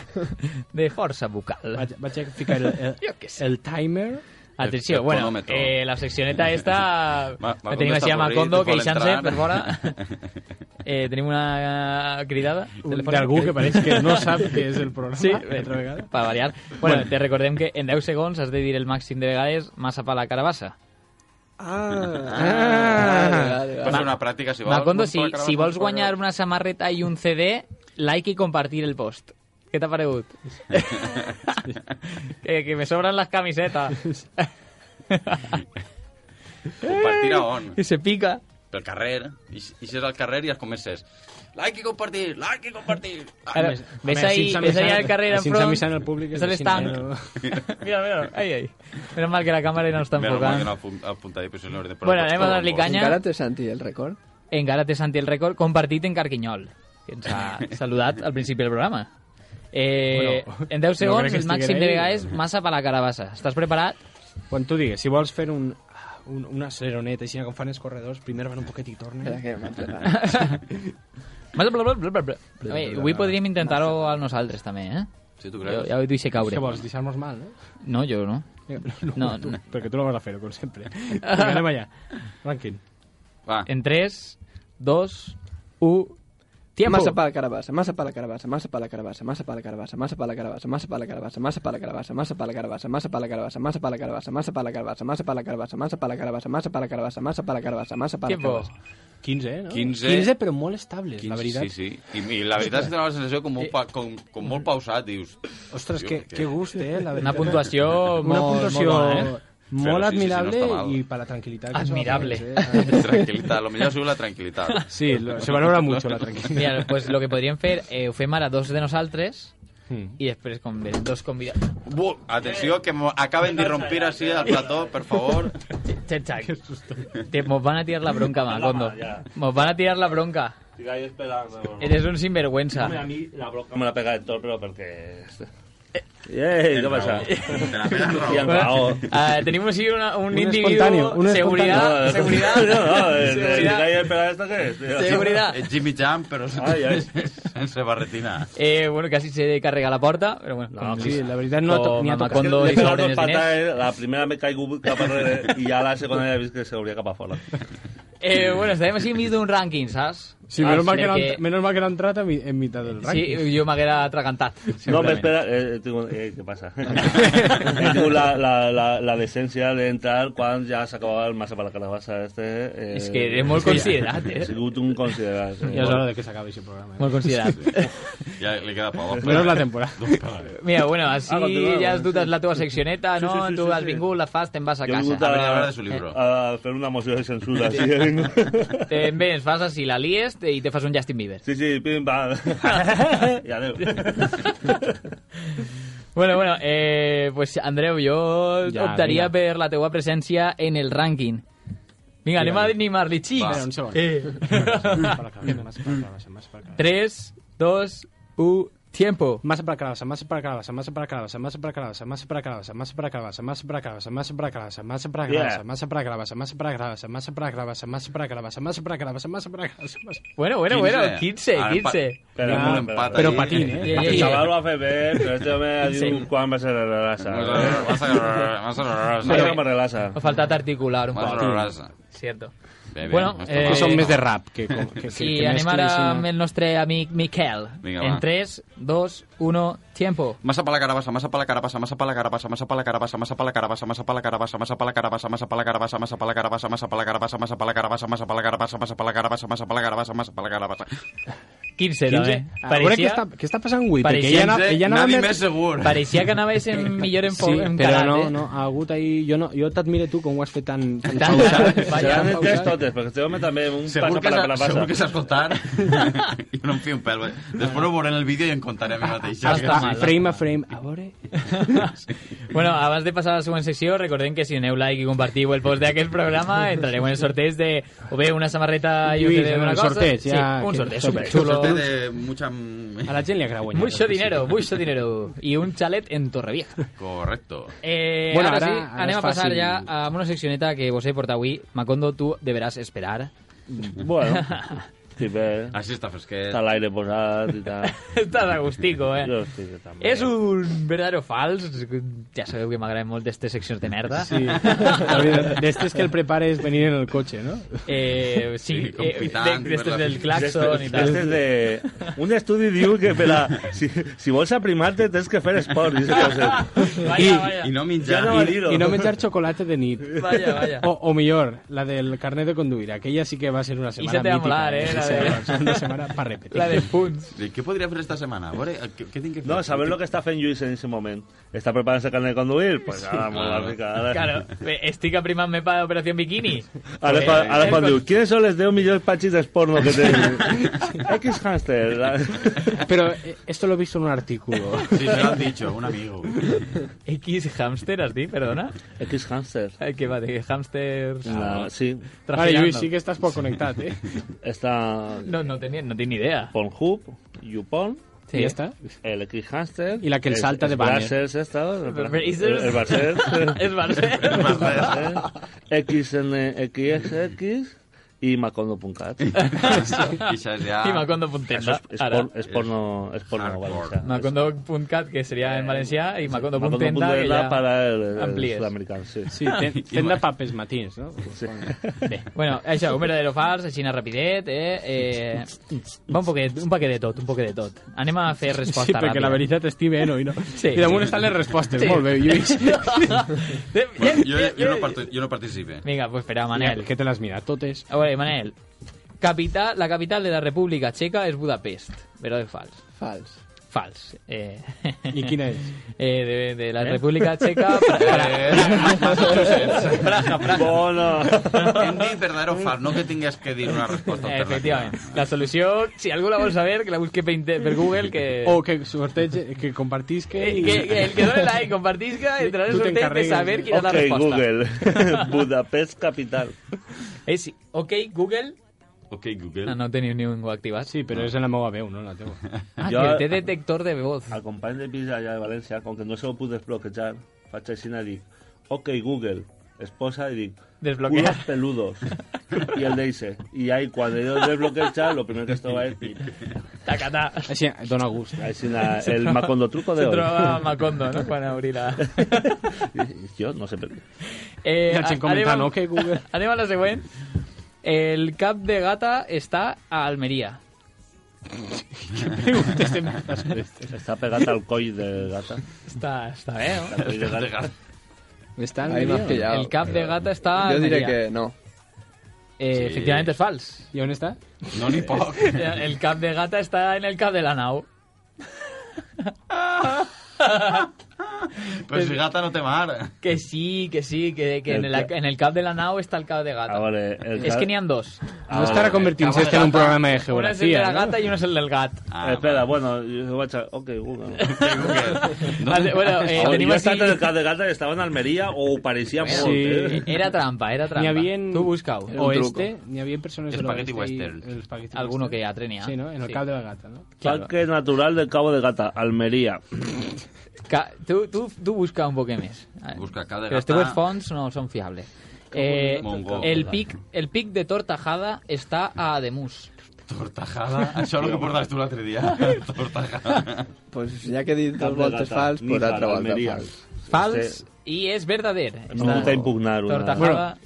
Speaker 3: de força vocal.
Speaker 4: Vaig, vaig a ficar el, el,
Speaker 3: Jo què sé.
Speaker 4: el timer.
Speaker 3: Atenció,
Speaker 2: El
Speaker 3: bueno,
Speaker 2: cronómetro.
Speaker 3: eh, la seccioneta esta...
Speaker 2: Ma-
Speaker 3: la
Speaker 2: Macondo
Speaker 3: tenim així
Speaker 2: està
Speaker 3: a Macondo,
Speaker 2: avorrit, vol
Speaker 3: queixant-se
Speaker 2: entrar.
Speaker 3: per fora. Eh, tenim una cridada.
Speaker 4: Un-
Speaker 3: telefònica.
Speaker 4: D'algú que pareix que no sap què és el programa.
Speaker 3: Sí,
Speaker 4: altra vegada.
Speaker 3: per variar. Bueno, te recordem que en 10 segons has de dir el màxim de vegades massa pa la carabassa.
Speaker 7: ah, vale,
Speaker 2: Pot
Speaker 7: vale.
Speaker 2: ser una pràctica, si vols.
Speaker 3: Macondo,
Speaker 2: Vols
Speaker 3: si,
Speaker 2: per acabar,
Speaker 3: si
Speaker 2: vols
Speaker 3: vols
Speaker 2: per
Speaker 3: guanyar
Speaker 2: acabar?
Speaker 3: una samarreta i un CD, like i compartir el post. Què t'ha paregut? que, que me sobran las camisetas.
Speaker 2: Compartir a on?
Speaker 3: Y se pica.
Speaker 2: Pel carrer. I, si- i si és al carrer i es comences. Like i compartir, like i compartir. Ah,
Speaker 3: Claro,
Speaker 4: Més-
Speaker 3: ves
Speaker 4: home,
Speaker 3: ahí,
Speaker 4: així s'ha
Speaker 3: ves ahí
Speaker 4: missat-
Speaker 3: al carrer
Speaker 4: així
Speaker 3: en
Speaker 4: s'ha
Speaker 3: front.
Speaker 4: missat el públic,
Speaker 3: És
Speaker 4: així
Speaker 3: l'estanc.
Speaker 4: no-
Speaker 3: mira, mira, ahí, ahí. Menos mal que la cámara no está
Speaker 2: Menos mal que no
Speaker 3: enfocada.
Speaker 2: apun- apuntaré, però si no hauré de posar
Speaker 3: Bueno,
Speaker 2: tots
Speaker 3: anem a
Speaker 2: tot
Speaker 3: donar-li
Speaker 2: en
Speaker 3: canya.
Speaker 7: Encara té Santi el record?
Speaker 3: Encara té Santi el rècord compartit en Carquinyol, que ens ha saludat al principi del programa. Eh,
Speaker 4: Bueno,
Speaker 3: en 10
Speaker 4: no crec
Speaker 3: segons,
Speaker 4: que
Speaker 3: el màxim
Speaker 4: estiguera
Speaker 3: de
Speaker 4: ahí.
Speaker 3: vegades, massa per la carabassa. Estàs preparat?
Speaker 4: Quan tu digues, si vols fer un, un, una seroneta, així com fan els corredors, primer van un poquet i
Speaker 7: Espera
Speaker 4: tornen.
Speaker 7: que m'ha preparat.
Speaker 3: Bla, bla, bla, bla, bla, bla. A veure, avui podríem intentar-ho a nosaltres, també, eh?
Speaker 2: Si tu
Speaker 3: Jo,
Speaker 2: creus.
Speaker 3: ja ho deixo
Speaker 4: Què
Speaker 3: caure.
Speaker 4: vols, deixar-nos mal, no?
Speaker 3: No, jo no.
Speaker 4: Vinga,
Speaker 3: No,
Speaker 4: tu,
Speaker 3: no.
Speaker 4: Perquè tu la vas a fer, com sempre. Vinga, anem allà. Rànquing.
Speaker 2: Va,
Speaker 3: En 3, 2, 1... Tiempo.
Speaker 7: Massa pa la carabassa, massa pa la carabassa, massa pa la carabassa, massa pa la carabassa, massa pa la carabassa, massa pa la carabassa, massa pa la carabassa, massa pa la carabassa, massa pa la carabassa, massa pa la carabassa, massa pa la carabassa, massa pa la carabassa, massa pa la carabassa, massa pa la carabassa, massa pa la carabassa, massa pa la
Speaker 3: Tiempo.
Speaker 7: carabassa.
Speaker 4: 15, eh, no?
Speaker 2: 15.
Speaker 4: 15, però molt estables,
Speaker 2: 15,
Speaker 4: la veritat.
Speaker 2: sí, sí. I, I la veritat és que donava la sensació com, molt, pa,
Speaker 3: Eh.
Speaker 2: com, com molt pausat, dius.
Speaker 4: Ostres,
Speaker 2: Tio,
Speaker 4: que,
Speaker 2: que-
Speaker 4: que gust, eh? La
Speaker 3: Una
Speaker 4: veritat.
Speaker 3: puntuació molt,
Speaker 4: Una
Speaker 3: molt
Speaker 4: puntuació
Speaker 3: bona, eh?
Speaker 4: molt
Speaker 2: Però sí, sí, sí, no
Speaker 4: admirable
Speaker 2: està mal.
Speaker 4: i per la tranquil·litat. que
Speaker 3: Admirable.
Speaker 4: això fa, eh?
Speaker 2: Tranquilitat, lo millor ha sigut la tranquilitat.
Speaker 4: Sí, lo- se valora mucho la tranquil·litat.
Speaker 3: Mira, pues lo que podríem fer, eh, ho fem ara dos de nosaltres
Speaker 4: Mm.
Speaker 3: i després com ve- dos convidats.
Speaker 2: Bu, atenció, que mo- acaben d'irrompir així al plató, per favor.
Speaker 3: Chenchak. Te Nos van a tirar la bronca, Macondo. Nos van a tirar la bronca.
Speaker 9: Sigo ahí esperando.
Speaker 3: Eres un sinvergüenza.
Speaker 9: Hombre, a mí la bronca me la pega el toro, pero porque... ¡Ey! ¿Qué pasa?
Speaker 2: Te la pegas,
Speaker 9: Y al
Speaker 3: Bueno,
Speaker 9: Raúl.
Speaker 3: ah, tenemos ahí una- un,
Speaker 4: Un espontáneo,
Speaker 3: individuo.
Speaker 4: un
Speaker 3: seguridad,
Speaker 9: No,
Speaker 3: seguridad.
Speaker 9: No, no, el- el- el-
Speaker 3: seguridad.
Speaker 9: ahí esperar esto qué es, tío?
Speaker 3: seguridad.
Speaker 2: És Eh, Jimmy Jam, però
Speaker 9: Ai, ai.
Speaker 2: sense, sense barretina.
Speaker 3: Eh, bueno, casi se carrega la puerta, pero bueno.
Speaker 4: No, sí, la veritat no ha to- ni ha tocat.
Speaker 9: Le
Speaker 3: Macondo
Speaker 9: he
Speaker 3: i
Speaker 9: pegado
Speaker 3: sobre
Speaker 9: dos eh.
Speaker 3: els diners.
Speaker 9: patadas, la primera me caigo cap enrere y ya la segunda ya veis que seguridad cap a fora.
Speaker 3: Eh, bueno, estarem així enmig d'un rànquing, saps?
Speaker 4: Sí, menos, mal que no,
Speaker 3: Perquè-
Speaker 4: han- menos mal que no han entrat a mi- en mitad del ranking.
Speaker 3: Sí, jo m'haguera atragantat.
Speaker 9: No, me
Speaker 3: segurament.
Speaker 9: espera... Eh, tengo, eh, ¿Qué pasa? tengo la, la, la, la decencia de entrar cuando ya se acababa el masa para la calabaza este. Eh,
Speaker 3: És que eres molt considerat, eh?
Speaker 9: He sigut un considerat. eh?
Speaker 4: Ja és hora de que s'acabi aquest programa. Eh?
Speaker 3: Molt considerat.
Speaker 2: Ja li queda por.
Speaker 4: Menos la temporada.
Speaker 3: Mira, bueno, així
Speaker 9: Ah, continuem,
Speaker 3: ja has dut
Speaker 9: sí.
Speaker 3: la teva seccioneta,
Speaker 9: Sí,
Speaker 3: no?
Speaker 9: sí, sí,
Speaker 3: tu
Speaker 9: sí,
Speaker 3: has
Speaker 9: sí.
Speaker 3: vingut, la fas, te'n vas a
Speaker 9: Jo he vingut
Speaker 3: casa.
Speaker 9: a-
Speaker 2: Habré de hablar de su libro.
Speaker 9: a fer una moció de censura. Sí, he vingut.
Speaker 3: Te'n vens, fas així la lies te- i te fas un Justin Bieber.
Speaker 9: sí, sí, pim, pam. I adeu.
Speaker 3: Bueno, bueno, eh, pues Andreu, jo
Speaker 4: Ja,
Speaker 3: optaria
Speaker 4: vinga.
Speaker 3: per la teua presència en el rànquing. Vinga, anem a animar-li,
Speaker 4: Espera, un
Speaker 3: xics.
Speaker 4: segon. Para acá, más para acá, más para acá.
Speaker 3: 3, 2, 1, tiempo.
Speaker 4: Masa para calabaza, masa para calabaza, masa para calabaza, masa para calabaza, masa para calabaza, masa para calabaza, masa para calabaza, masa para calabaza, masa para calabaza,
Speaker 9: Yeah.
Speaker 4: masa para calabaza, masa para calabaza, masa para calabaza, masa para calabaza, masa para calabaza, masa para calabaza, masa
Speaker 3: Bueno, bueno, bueno, 15,
Speaker 2: Ara
Speaker 3: 15.
Speaker 2: pa-
Speaker 9: Però,
Speaker 2: tenim un
Speaker 9: però,
Speaker 2: empat
Speaker 4: Però
Speaker 2: ahí.
Speaker 4: patín,
Speaker 3: Eh,
Speaker 4: eh?
Speaker 3: eh,
Speaker 9: El
Speaker 3: eh.
Speaker 9: xaval ho va fer bé, però este home ha dit
Speaker 3: Sí.
Speaker 9: quan va ser la relassa.
Speaker 2: Más
Speaker 9: eh?
Speaker 2: a- más a- más a-
Speaker 9: Mai
Speaker 2: más
Speaker 9: que me relassa.
Speaker 3: M'ha faltat articular un
Speaker 2: a-
Speaker 3: poc.
Speaker 2: más a-
Speaker 3: Cierto.
Speaker 2: Bé, bé,
Speaker 3: Bueno,
Speaker 2: no està
Speaker 3: eh,
Speaker 4: Que
Speaker 2: mal.
Speaker 4: són més de rap que... com- que, que,
Speaker 3: Sí,
Speaker 4: que
Speaker 3: anem ara
Speaker 4: mesclen, sí, no?
Speaker 3: amb el nostre amic Miquel.
Speaker 2: Vinga,
Speaker 3: en
Speaker 2: va.
Speaker 3: 3, 2, 1, tiempo.
Speaker 2: Massa pa la carabassa, massa pa la carabassa, massa pa la carabassa, massa pa la carabassa, massa pa la carabassa, massa pa la carabassa, massa pa la carabassa, massa pa la carabassa, massa pa la carabassa, massa pa la carabassa, massa pa la carabassa, massa pa la carabassa, massa pa la carabassa, massa pa la carabassa, massa pa la carabassa.
Speaker 3: 15,
Speaker 4: eh,
Speaker 3: també.
Speaker 4: A veure què
Speaker 3: Pareixia,
Speaker 4: està, què està passant avui? Perquè
Speaker 3: Pareixia-
Speaker 4: ella, anava- ella anava
Speaker 2: Nadie
Speaker 4: més...
Speaker 2: més segur.
Speaker 3: pareixia que anaves en millor en,
Speaker 4: Sí,
Speaker 3: en
Speaker 4: però
Speaker 3: carat,
Speaker 4: no,
Speaker 3: eh?
Speaker 4: no, ha hagut ahir... Jo, no, jo t'admire tu com ho has fet tan... tan
Speaker 3: Tant,
Speaker 4: pausat.
Speaker 9: Seran
Speaker 3: Vaya,
Speaker 9: entès totes, perquè este home també un
Speaker 2: Segur
Speaker 9: passa
Speaker 2: que
Speaker 9: per la
Speaker 2: s'ha-
Speaker 9: calabassa.
Speaker 2: eh. segur que s'ha escoltat. Jo no em fio un pèl. Després ho veuré en el vídeo i en
Speaker 8: contaré a mi mateix.
Speaker 3: Està mal.
Speaker 4: Frame a frame, a veure...
Speaker 3: Bueno, abans de passar a la següent secció, recordem que si doneu like i compartiu el post d'aquest programa, entrarem en el sorteig de... o bé una samarreta i un
Speaker 4: Lluís,
Speaker 3: CD
Speaker 4: en
Speaker 3: d'una
Speaker 4: el
Speaker 3: cosa.
Speaker 4: sorteig,
Speaker 3: sí,
Speaker 4: ja,
Speaker 3: un
Speaker 4: que-
Speaker 3: sorteig
Speaker 4: sorteig.
Speaker 3: superxulo.
Speaker 8: Sorteo de mucha...
Speaker 4: A la gent li agrada guanyar.
Speaker 3: Mucho dinero, mucho dinero. I un xalet en Torrevieja.
Speaker 8: Correcto.
Speaker 3: Eh,
Speaker 4: Bueno,
Speaker 3: ara,
Speaker 4: ara-
Speaker 3: sí,
Speaker 4: ara
Speaker 3: anem
Speaker 4: és
Speaker 3: a passar
Speaker 4: fàcil.
Speaker 3: ja a una seccioneta que vos he portat avui. Macondo, tu deberàs esperar.
Speaker 9: Bueno, sí, bé.
Speaker 8: Així està fresquet.
Speaker 9: Està l'aire posat i tal.
Speaker 3: Estàs a gustico, eh?
Speaker 9: Jo estic també.
Speaker 3: És un verdadero fals. Ja sabeu que m'agraden molt aquestes seccions de merda.
Speaker 4: Sí. La veritat, D'estes que el prepara és venir en el cotxe, no?
Speaker 3: Eh, sí,
Speaker 8: Sí, con
Speaker 3: eh,
Speaker 8: pitán,
Speaker 3: de- d'estes
Speaker 8: per la-
Speaker 3: del claxon i
Speaker 9: Este
Speaker 3: tal.
Speaker 9: és de... Un estudi diu que per a... si, si vols aprimar-te tens que fer esport. I aquestes coses.
Speaker 3: Vaya, vaya.
Speaker 8: I no
Speaker 9: Ja
Speaker 8: menjar.
Speaker 9: no va dir-ho.
Speaker 4: I no menjar xocolata de nit.
Speaker 3: Vaya, vaya.
Speaker 4: O, o millor, la del carnet de conduir. Aquella sí que va ser una setmana
Speaker 3: Esa te va a
Speaker 4: mítica,
Speaker 3: molar, eh, la
Speaker 4: Esa
Speaker 3: de-
Speaker 4: va ser Una setmana para repetir.
Speaker 3: La de punts.
Speaker 8: I Què podria fer esta setmana? A veure, què, què tinc que fer?
Speaker 9: No, saber lo que està fent Lluís en aquest moment. Està preparant-se carnet de conduir? Pues ara, molt la rica. Ara,
Speaker 3: Claro, eh, estic aprimant-me per Operació Bikini.
Speaker 9: Ara,
Speaker 3: Eh,
Speaker 9: quan, ara
Speaker 3: eh,
Speaker 9: quan
Speaker 3: pues-
Speaker 9: diu, quines són les 10 millors patxis d'esporno que tens? X hamster.
Speaker 4: Pero eh, esto lo he visto en un artículo.
Speaker 8: Sí, se lo han dicho, un amigo.
Speaker 3: X hamster, has dit, perdona?
Speaker 9: X hamster.
Speaker 3: Eh, Que va de hamsters... Ah,
Speaker 9: La, sí,
Speaker 4: Vale,
Speaker 3: trafilando.
Speaker 4: Lluís, sí que estás por conectar, ¿eh?
Speaker 9: està
Speaker 3: No, no tenia, no tinc ni idea.
Speaker 9: Pornhub, YouPorn,
Speaker 3: Sí.
Speaker 4: Y ya está.
Speaker 9: el X hamster...
Speaker 4: I la que el salta de banner.
Speaker 9: Bracers, esta, el,
Speaker 3: Bracers.
Speaker 9: Bracers. el Bracers.
Speaker 3: És Barcer.
Speaker 9: XN, XXX i macondo.cat.
Speaker 8: Això és ja...
Speaker 3: I Macondo.tenda,
Speaker 9: Això és, és,
Speaker 3: ara.
Speaker 9: por, és porno, és porno
Speaker 8: Hardcore.
Speaker 9: valencià.
Speaker 3: Macondo.cat, que seria en
Speaker 4: Eh,
Speaker 3: valencià, i Macondo.tenda, que
Speaker 9: Macondo.tenda
Speaker 3: ja...
Speaker 9: para el, el
Speaker 3: amplies.
Speaker 9: sud-americà, sí.
Speaker 4: Sí, ten, tenda papes matins, ¿no?
Speaker 9: sí.
Speaker 3: Bé, bueno, això, un verdadero fals, així anar rapidet, eh? eh va un poquet, un paquet de tot, un poquet de tot. Anem a fer resposta
Speaker 4: Sí, perquè la veritat estic bé, no? I, no.
Speaker 3: Sí.
Speaker 4: Sí. I damunt estan les respostes.
Speaker 3: Sí.
Speaker 4: Sí. Molt bé, Lluís.
Speaker 2: eh,
Speaker 8: Bueno, jo, jo, no parto, jo no participe.
Speaker 3: Vinga, pues espera, Manel.
Speaker 4: Manel. Que te las mira totes.
Speaker 3: A veure, Manel. Capital, la capital de la República Txeca és Budapest. Verdad o fals?
Speaker 7: Fals.
Speaker 3: Fals. Eh,
Speaker 4: I quina és?
Speaker 3: Eh, de, de la República Txeca... Pra- Pra- Praja, Praja.
Speaker 9: Bona!
Speaker 8: Hem dit verdadero o fals, no que tingues que dir una resposta
Speaker 3: Eh,
Speaker 8: alternativa.
Speaker 3: Efectivament. La solució, si algú la vol saber, que la busque per, inter- per Google, que...
Speaker 4: O que sortege, que compartís que...
Speaker 3: Eh, que, que el que done like, compartisca, entrará en el
Speaker 4: Tú te
Speaker 3: sorteo de
Speaker 4: encargues.
Speaker 3: saber quién es la
Speaker 9: Ok,
Speaker 3: respuesta.
Speaker 9: Google. Budapest capital.
Speaker 3: Eh, sí. Ok, Google.
Speaker 8: Ok, Google.
Speaker 3: No, no tenéis ni un activat.
Speaker 4: Sí, però és en la meva veu, no la teva.
Speaker 3: Ah,
Speaker 9: Jo-
Speaker 3: que el té detector de voz.
Speaker 9: Al company de pis allà de València, com que no se ho puc desbloquejar, faig així i dic, ok, Google, esposa, i dic,
Speaker 3: Desbloquear.
Speaker 9: culos peludos. I el deixe. I ahí, quan jo desbloqueja, lo primer que es troba és... pip.
Speaker 3: Tacatá.
Speaker 4: Així, dona gust.
Speaker 9: Així na- el macondo truco de
Speaker 3: Se
Speaker 9: hoy.
Speaker 3: trobava Macondo, no?, quan obrir la...
Speaker 9: Jo no sé per què.
Speaker 3: Eh,
Speaker 4: La gent
Speaker 3: a-
Speaker 4: comentant,
Speaker 3: anem a-
Speaker 4: ok, Google.
Speaker 3: Anem a la següent. El cap de gata està a Almeria.
Speaker 9: Està pegat al coll de gata.
Speaker 3: Està, està bé, no?
Speaker 9: Al coll de gata.
Speaker 4: Està
Speaker 7: Ahí m'has pillado.
Speaker 3: El Ah, cap de gata està a
Speaker 7: Jo diré
Speaker 3: Almeria.
Speaker 7: que no.
Speaker 3: Eh,
Speaker 8: Sí.
Speaker 3: Efectivament és fals.
Speaker 4: I on està?
Speaker 8: No ni poc.
Speaker 3: El cap de gata està en el cap de la nau.
Speaker 8: Però pues si gata no té mar.
Speaker 3: Que sí, que sí, que, que
Speaker 9: El
Speaker 3: en, la-
Speaker 9: ca-
Speaker 3: en el cap de la nau está el cap de gata.
Speaker 9: Ah, vale, el
Speaker 3: Es
Speaker 9: cap-
Speaker 3: que ni han dos.
Speaker 4: No estarà convertint-se este en un programa de
Speaker 3: Una es el de
Speaker 4: geografia,
Speaker 3: la
Speaker 4: no?
Speaker 3: gata y uno es el del gat.
Speaker 8: Ah,
Speaker 9: Eh, Espera, bueno, jo vaig a... Ok, Google.
Speaker 3: Vale, bueno, eh,
Speaker 9: Ah,
Speaker 3: tenim
Speaker 9: jo he
Speaker 3: així-
Speaker 9: estat en el cap de gata i estava en Almeria o ho pareixia
Speaker 4: Sí.
Speaker 9: molt, eh?
Speaker 3: Era trampa, era trampa.
Speaker 4: N'hi havia en
Speaker 3: Tú busca un-
Speaker 4: oeste, n'hi havia persones de
Speaker 8: Spaghetti
Speaker 4: l'oeste
Speaker 8: western.
Speaker 4: i el espagueti
Speaker 3: alguno que
Speaker 4: western.
Speaker 3: ya tenía.
Speaker 4: Sí, no? En el
Speaker 3: Sí.
Speaker 4: cap de la gata, no?
Speaker 3: Claro.
Speaker 9: Parque Natural del Cabo de Gata, Almeria.
Speaker 3: Ca- Tú, tú- tú busca un poco más.
Speaker 8: Busca cap de
Speaker 3: Pero
Speaker 8: gata.
Speaker 3: estos fonts no son fiables. Eh,
Speaker 8: Mongo.
Speaker 3: el pic el pic de Tortajada está a Ademus.
Speaker 8: Tortajada. Això és el que portaves tu l'altre dia. Tortajada.
Speaker 7: Pues ja que he dit
Speaker 9: Cap
Speaker 7: dos
Speaker 9: de
Speaker 7: voltes
Speaker 9: Gata,
Speaker 7: fals, pues
Speaker 9: Níjar,
Speaker 7: altra volta
Speaker 9: Almeria.
Speaker 7: fals.
Speaker 3: Fals y es verdadero.
Speaker 9: No gusta impugnar una-
Speaker 3: Tortajada.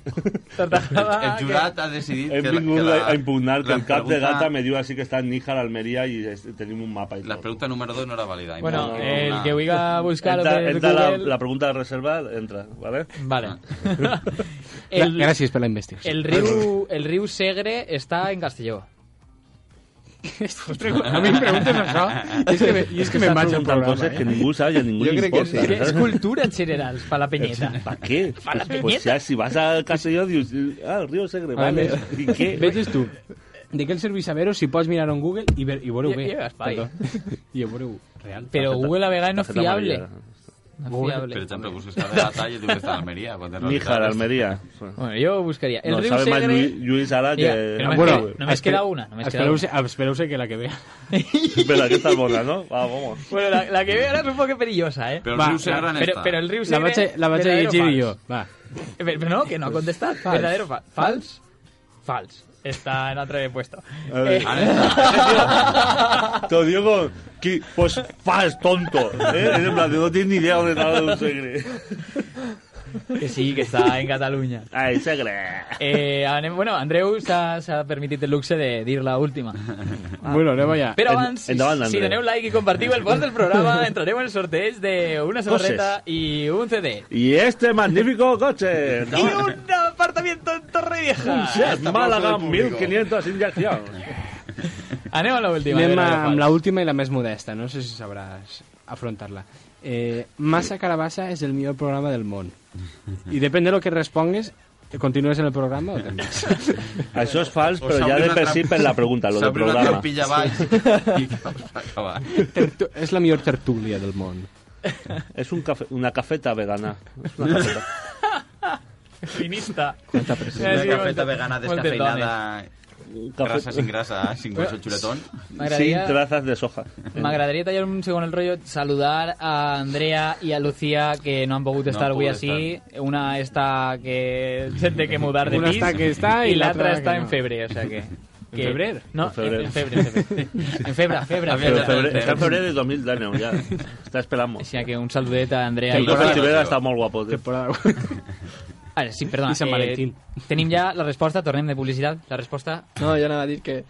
Speaker 3: Tortajada.
Speaker 8: El
Speaker 3: que-
Speaker 8: jurat ha decidit
Speaker 9: Hem
Speaker 8: que, la-
Speaker 9: vingut
Speaker 8: que la,
Speaker 9: a impugnar que
Speaker 8: la
Speaker 9: el cap de
Speaker 8: pregunta-
Speaker 9: gata me diu així que està en Níjar, Almeria i es- tenim un mapa i
Speaker 8: La
Speaker 9: tot.
Speaker 8: pregunta número 2 no era válida.
Speaker 3: Bueno,
Speaker 8: Impugna-
Speaker 3: el que oiga a buscar
Speaker 9: Entra,
Speaker 3: per
Speaker 9: entra la,
Speaker 3: Google-
Speaker 9: la pregunta de reserva, entra, ¿vale?
Speaker 3: Vale.
Speaker 8: Ah.
Speaker 4: El...
Speaker 3: el,
Speaker 4: Gràcies per la investigació.
Speaker 3: el, riu, el riu Segre està en Castelló.
Speaker 4: A mi em preguntes això i és que, me, i és que me'n
Speaker 9: Estàs
Speaker 4: vaig al
Speaker 9: preguntant
Speaker 4: programa.
Speaker 9: coses que
Speaker 4: Eh?
Speaker 9: ningú sap i a ningú
Speaker 7: Jo
Speaker 9: li
Speaker 7: crec que
Speaker 9: importa.
Speaker 7: sí.
Speaker 3: Que és cultura en general, per la penyeta.
Speaker 9: ¿Para qué?
Speaker 3: Pa la
Speaker 9: Pues,
Speaker 3: piñeta.
Speaker 9: ya, si vas a Castelló, dius, ah, el río Segre,
Speaker 4: A
Speaker 9: vale.
Speaker 4: ver.
Speaker 9: ¿Y qué?
Speaker 4: Veges tu. de què el serveix saber-ho si pots mirar en Google i, ver, i veure-ho
Speaker 3: I-
Speaker 4: bé.
Speaker 3: i veuràs, pai.
Speaker 4: Perdó. I ho veureu real.
Speaker 3: Pero Google a vegades no és
Speaker 9: Targeta
Speaker 3: fiable.
Speaker 9: amarilla.
Speaker 3: No és fiable.
Speaker 2: Per exemple, busques cada detall i tu que està a Almeria. quan en
Speaker 9: Níjar,
Speaker 2: realitat és-
Speaker 9: Almería.
Speaker 3: Bueno, yo buscaría. El
Speaker 9: No,
Speaker 3: riu
Speaker 9: sabe más
Speaker 3: Segre-
Speaker 9: Lluís, Lluís Ala que...
Speaker 3: Mira, que no me-
Speaker 9: bueno,
Speaker 3: no me has quedado una, no me has quedado
Speaker 4: Espereu-se espereu que la que vea.
Speaker 9: espera, que está bona, ¿no? Ah, vamos.
Speaker 3: Bueno, la, la que veo ahora es un poco perillosa, ¿eh?
Speaker 2: Però
Speaker 4: Va,
Speaker 2: el riu Segre en
Speaker 3: Pero,
Speaker 2: esta.
Speaker 3: pero el riu
Speaker 4: La
Speaker 3: Segre...
Speaker 4: vaig, a- la vaig a
Speaker 3: verdadero
Speaker 4: llegir
Speaker 3: fals.
Speaker 4: jo. Va.
Speaker 3: Eh, Pero no, que no ha contestado. ¿Verdadero o fal fals? Fals. Está en otro puesto.
Speaker 9: A ver.
Speaker 3: Eh,
Speaker 9: Te lo digo con- que- Pues fals, tonto. ¿eh? Es en plan, no tienes ni idea dónde está el segre.
Speaker 3: que sí, que está en Cataluña.
Speaker 9: Ay, segre.
Speaker 3: Eh, anem- bueno, Andreu s'ha s'ha permitit el luxe de dir la última. Ah.
Speaker 4: Bueno, anem allà.
Speaker 3: Però
Speaker 9: En-
Speaker 3: abans,
Speaker 9: endavant,
Speaker 3: si
Speaker 9: Andreu.
Speaker 3: doneu like i compartiu el post del programa, entrareu en el sorteig d'una samarreta i un CD.
Speaker 9: Y este magnífico coche.
Speaker 3: I
Speaker 4: eh.
Speaker 3: un apartamento en Torrevieja.
Speaker 9: Seat Málaga 1500 inyección.
Speaker 3: Anem a l'última.
Speaker 4: Anem
Speaker 3: a veure
Speaker 4: amb
Speaker 3: qual.
Speaker 4: la última i la més modesta, no sé si sabràs afrontar-la. Eh, Massa Carabassa és el millor programa del món. I depèn de lo que respongues, continues en el programa o també?
Speaker 9: Això és fals,
Speaker 2: O
Speaker 9: però ja
Speaker 2: s'abre
Speaker 9: de
Speaker 2: una
Speaker 9: per si
Speaker 2: trampa-
Speaker 9: per la pregunta, lo del
Speaker 2: S'obre una
Speaker 9: programa.
Speaker 2: trampilla baix i vas acabar.
Speaker 4: Tertu és la millor tertúlia del món.
Speaker 9: És un cafè, una cafeta vegana. És una cafeta.
Speaker 3: Finista.
Speaker 10: Quanta pressió.
Speaker 3: Eh,
Speaker 2: Una
Speaker 3: sí,
Speaker 2: cafeta
Speaker 3: molt-
Speaker 2: vegana
Speaker 3: molt
Speaker 2: descafeinada,
Speaker 9: Un
Speaker 2: grasa sin
Speaker 9: cafè
Speaker 2: grasa, sin hueso chuletón.
Speaker 9: sin
Speaker 3: M'agradaria-
Speaker 9: trazas de soja.
Speaker 3: M'agradaria tallar un segon el rotllo, saludar a Andrea i a Lucía, que no han pogut estar
Speaker 2: han
Speaker 3: avui
Speaker 2: pogut
Speaker 3: així. Una està que se té que mudar de
Speaker 4: Una
Speaker 3: pis
Speaker 4: està que està i
Speaker 3: i l'altra
Speaker 4: l'altra
Speaker 3: està
Speaker 4: que
Speaker 3: en
Speaker 4: no.
Speaker 3: febre, o sea que... que-
Speaker 4: febrer?
Speaker 3: No,
Speaker 9: En febrer.
Speaker 3: en febre, en febre. En febre, febre, febre.
Speaker 9: Però
Speaker 2: Febre.
Speaker 9: febrer, està en febrer de 2019, ja. Està
Speaker 3: O
Speaker 9: esperant-nos.
Speaker 3: sea que un saludet a Andrea i
Speaker 9: Los
Speaker 3: Lucía.
Speaker 9: Estivera està molt guapo. tio.
Speaker 4: Temporada.
Speaker 3: Ah, sí, perdona.
Speaker 4: I Sant
Speaker 3: eh,
Speaker 4: Valentín.
Speaker 3: tenim ja la resposta, tornem de publicitat. La resposta...
Speaker 10: No, jo anava a dir que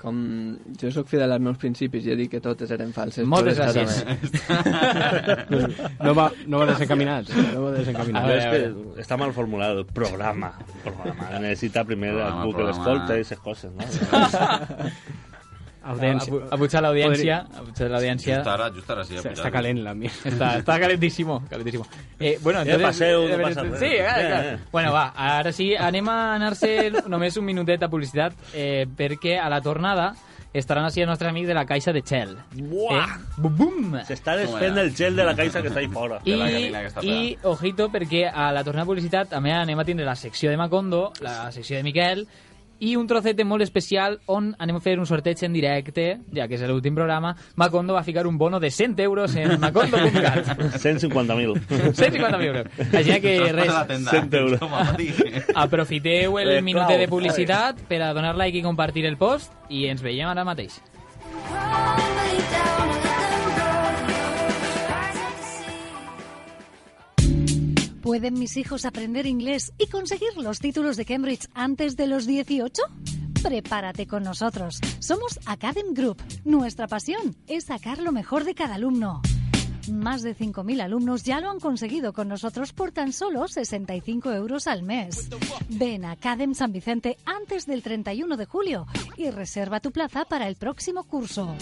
Speaker 10: com jo sóc fidel als meus principis i he dit que totes eren falses. Pues,
Speaker 3: Moltes
Speaker 10: totes
Speaker 3: gràcies.
Speaker 10: també.
Speaker 4: No va, no va desencaminat. No va
Speaker 9: A
Speaker 4: desencaminat.
Speaker 9: veure, és que està mal formulat el programa. programa. Necessita primer
Speaker 2: Programa,
Speaker 9: algú que
Speaker 2: programa.
Speaker 9: l'escolta i aquestes coses, no?
Speaker 4: Audiència.
Speaker 3: A, a, a l'audiència. A butxar l'audiència.
Speaker 2: Just ara, just ara sí. ha
Speaker 4: Està
Speaker 2: pujat.
Speaker 4: calent la mía.
Speaker 3: Está, está calentísimo, calentísimo. Eh, bueno, entonces...
Speaker 9: passeu, no
Speaker 3: eh,
Speaker 9: passa
Speaker 3: sí,
Speaker 9: res.
Speaker 3: clar,
Speaker 9: Eh,
Speaker 3: clar.
Speaker 9: eh.
Speaker 3: Bueno, va, ara sí, anem a anar-se només un minutet de publicitat eh, perquè a la tornada estaran així els nostres amics de la Caixa de Shell. Eh,
Speaker 9: Buah!
Speaker 3: Bum, bum!
Speaker 9: S'està desfent el gel de la caixa que està ahí fora.
Speaker 3: I,
Speaker 2: la gallina que està
Speaker 3: I, ojito, perquè a la tornada de publicitat també anem a tindre la secció de Macondo, la secció de Miquel, i un trocete molt especial on anem a fer un sorteig en directe, ja que és l'últim programa. Macondo va ficar un bono de 100 euros en macondo.cat.
Speaker 9: 150.000.
Speaker 3: 150 euros. Així que
Speaker 2: Traspasa
Speaker 3: res,
Speaker 2: la tenda.
Speaker 9: 100 euros.
Speaker 2: Toma, Mati.
Speaker 3: aprofiteu el
Speaker 9: Eh,
Speaker 3: minut
Speaker 9: clau,
Speaker 3: de publicitat per a donar like i compartir el post i ens veiem ara mateix.
Speaker 7: ¿Pueden mis hijos aprender inglés y conseguir los títulos de Cambridge antes de los 18? Prepárate con nosotros. Somos Academ Group. Nuestra pasión es sacar lo mejor de cada alumno. Más de 5.000 alumnos ya lo han conseguido con nosotros por tan solo 65 euros al mes. Ven a Academ San Vicente antes del 31 de julio y reserva tu plaza para el próximo curso.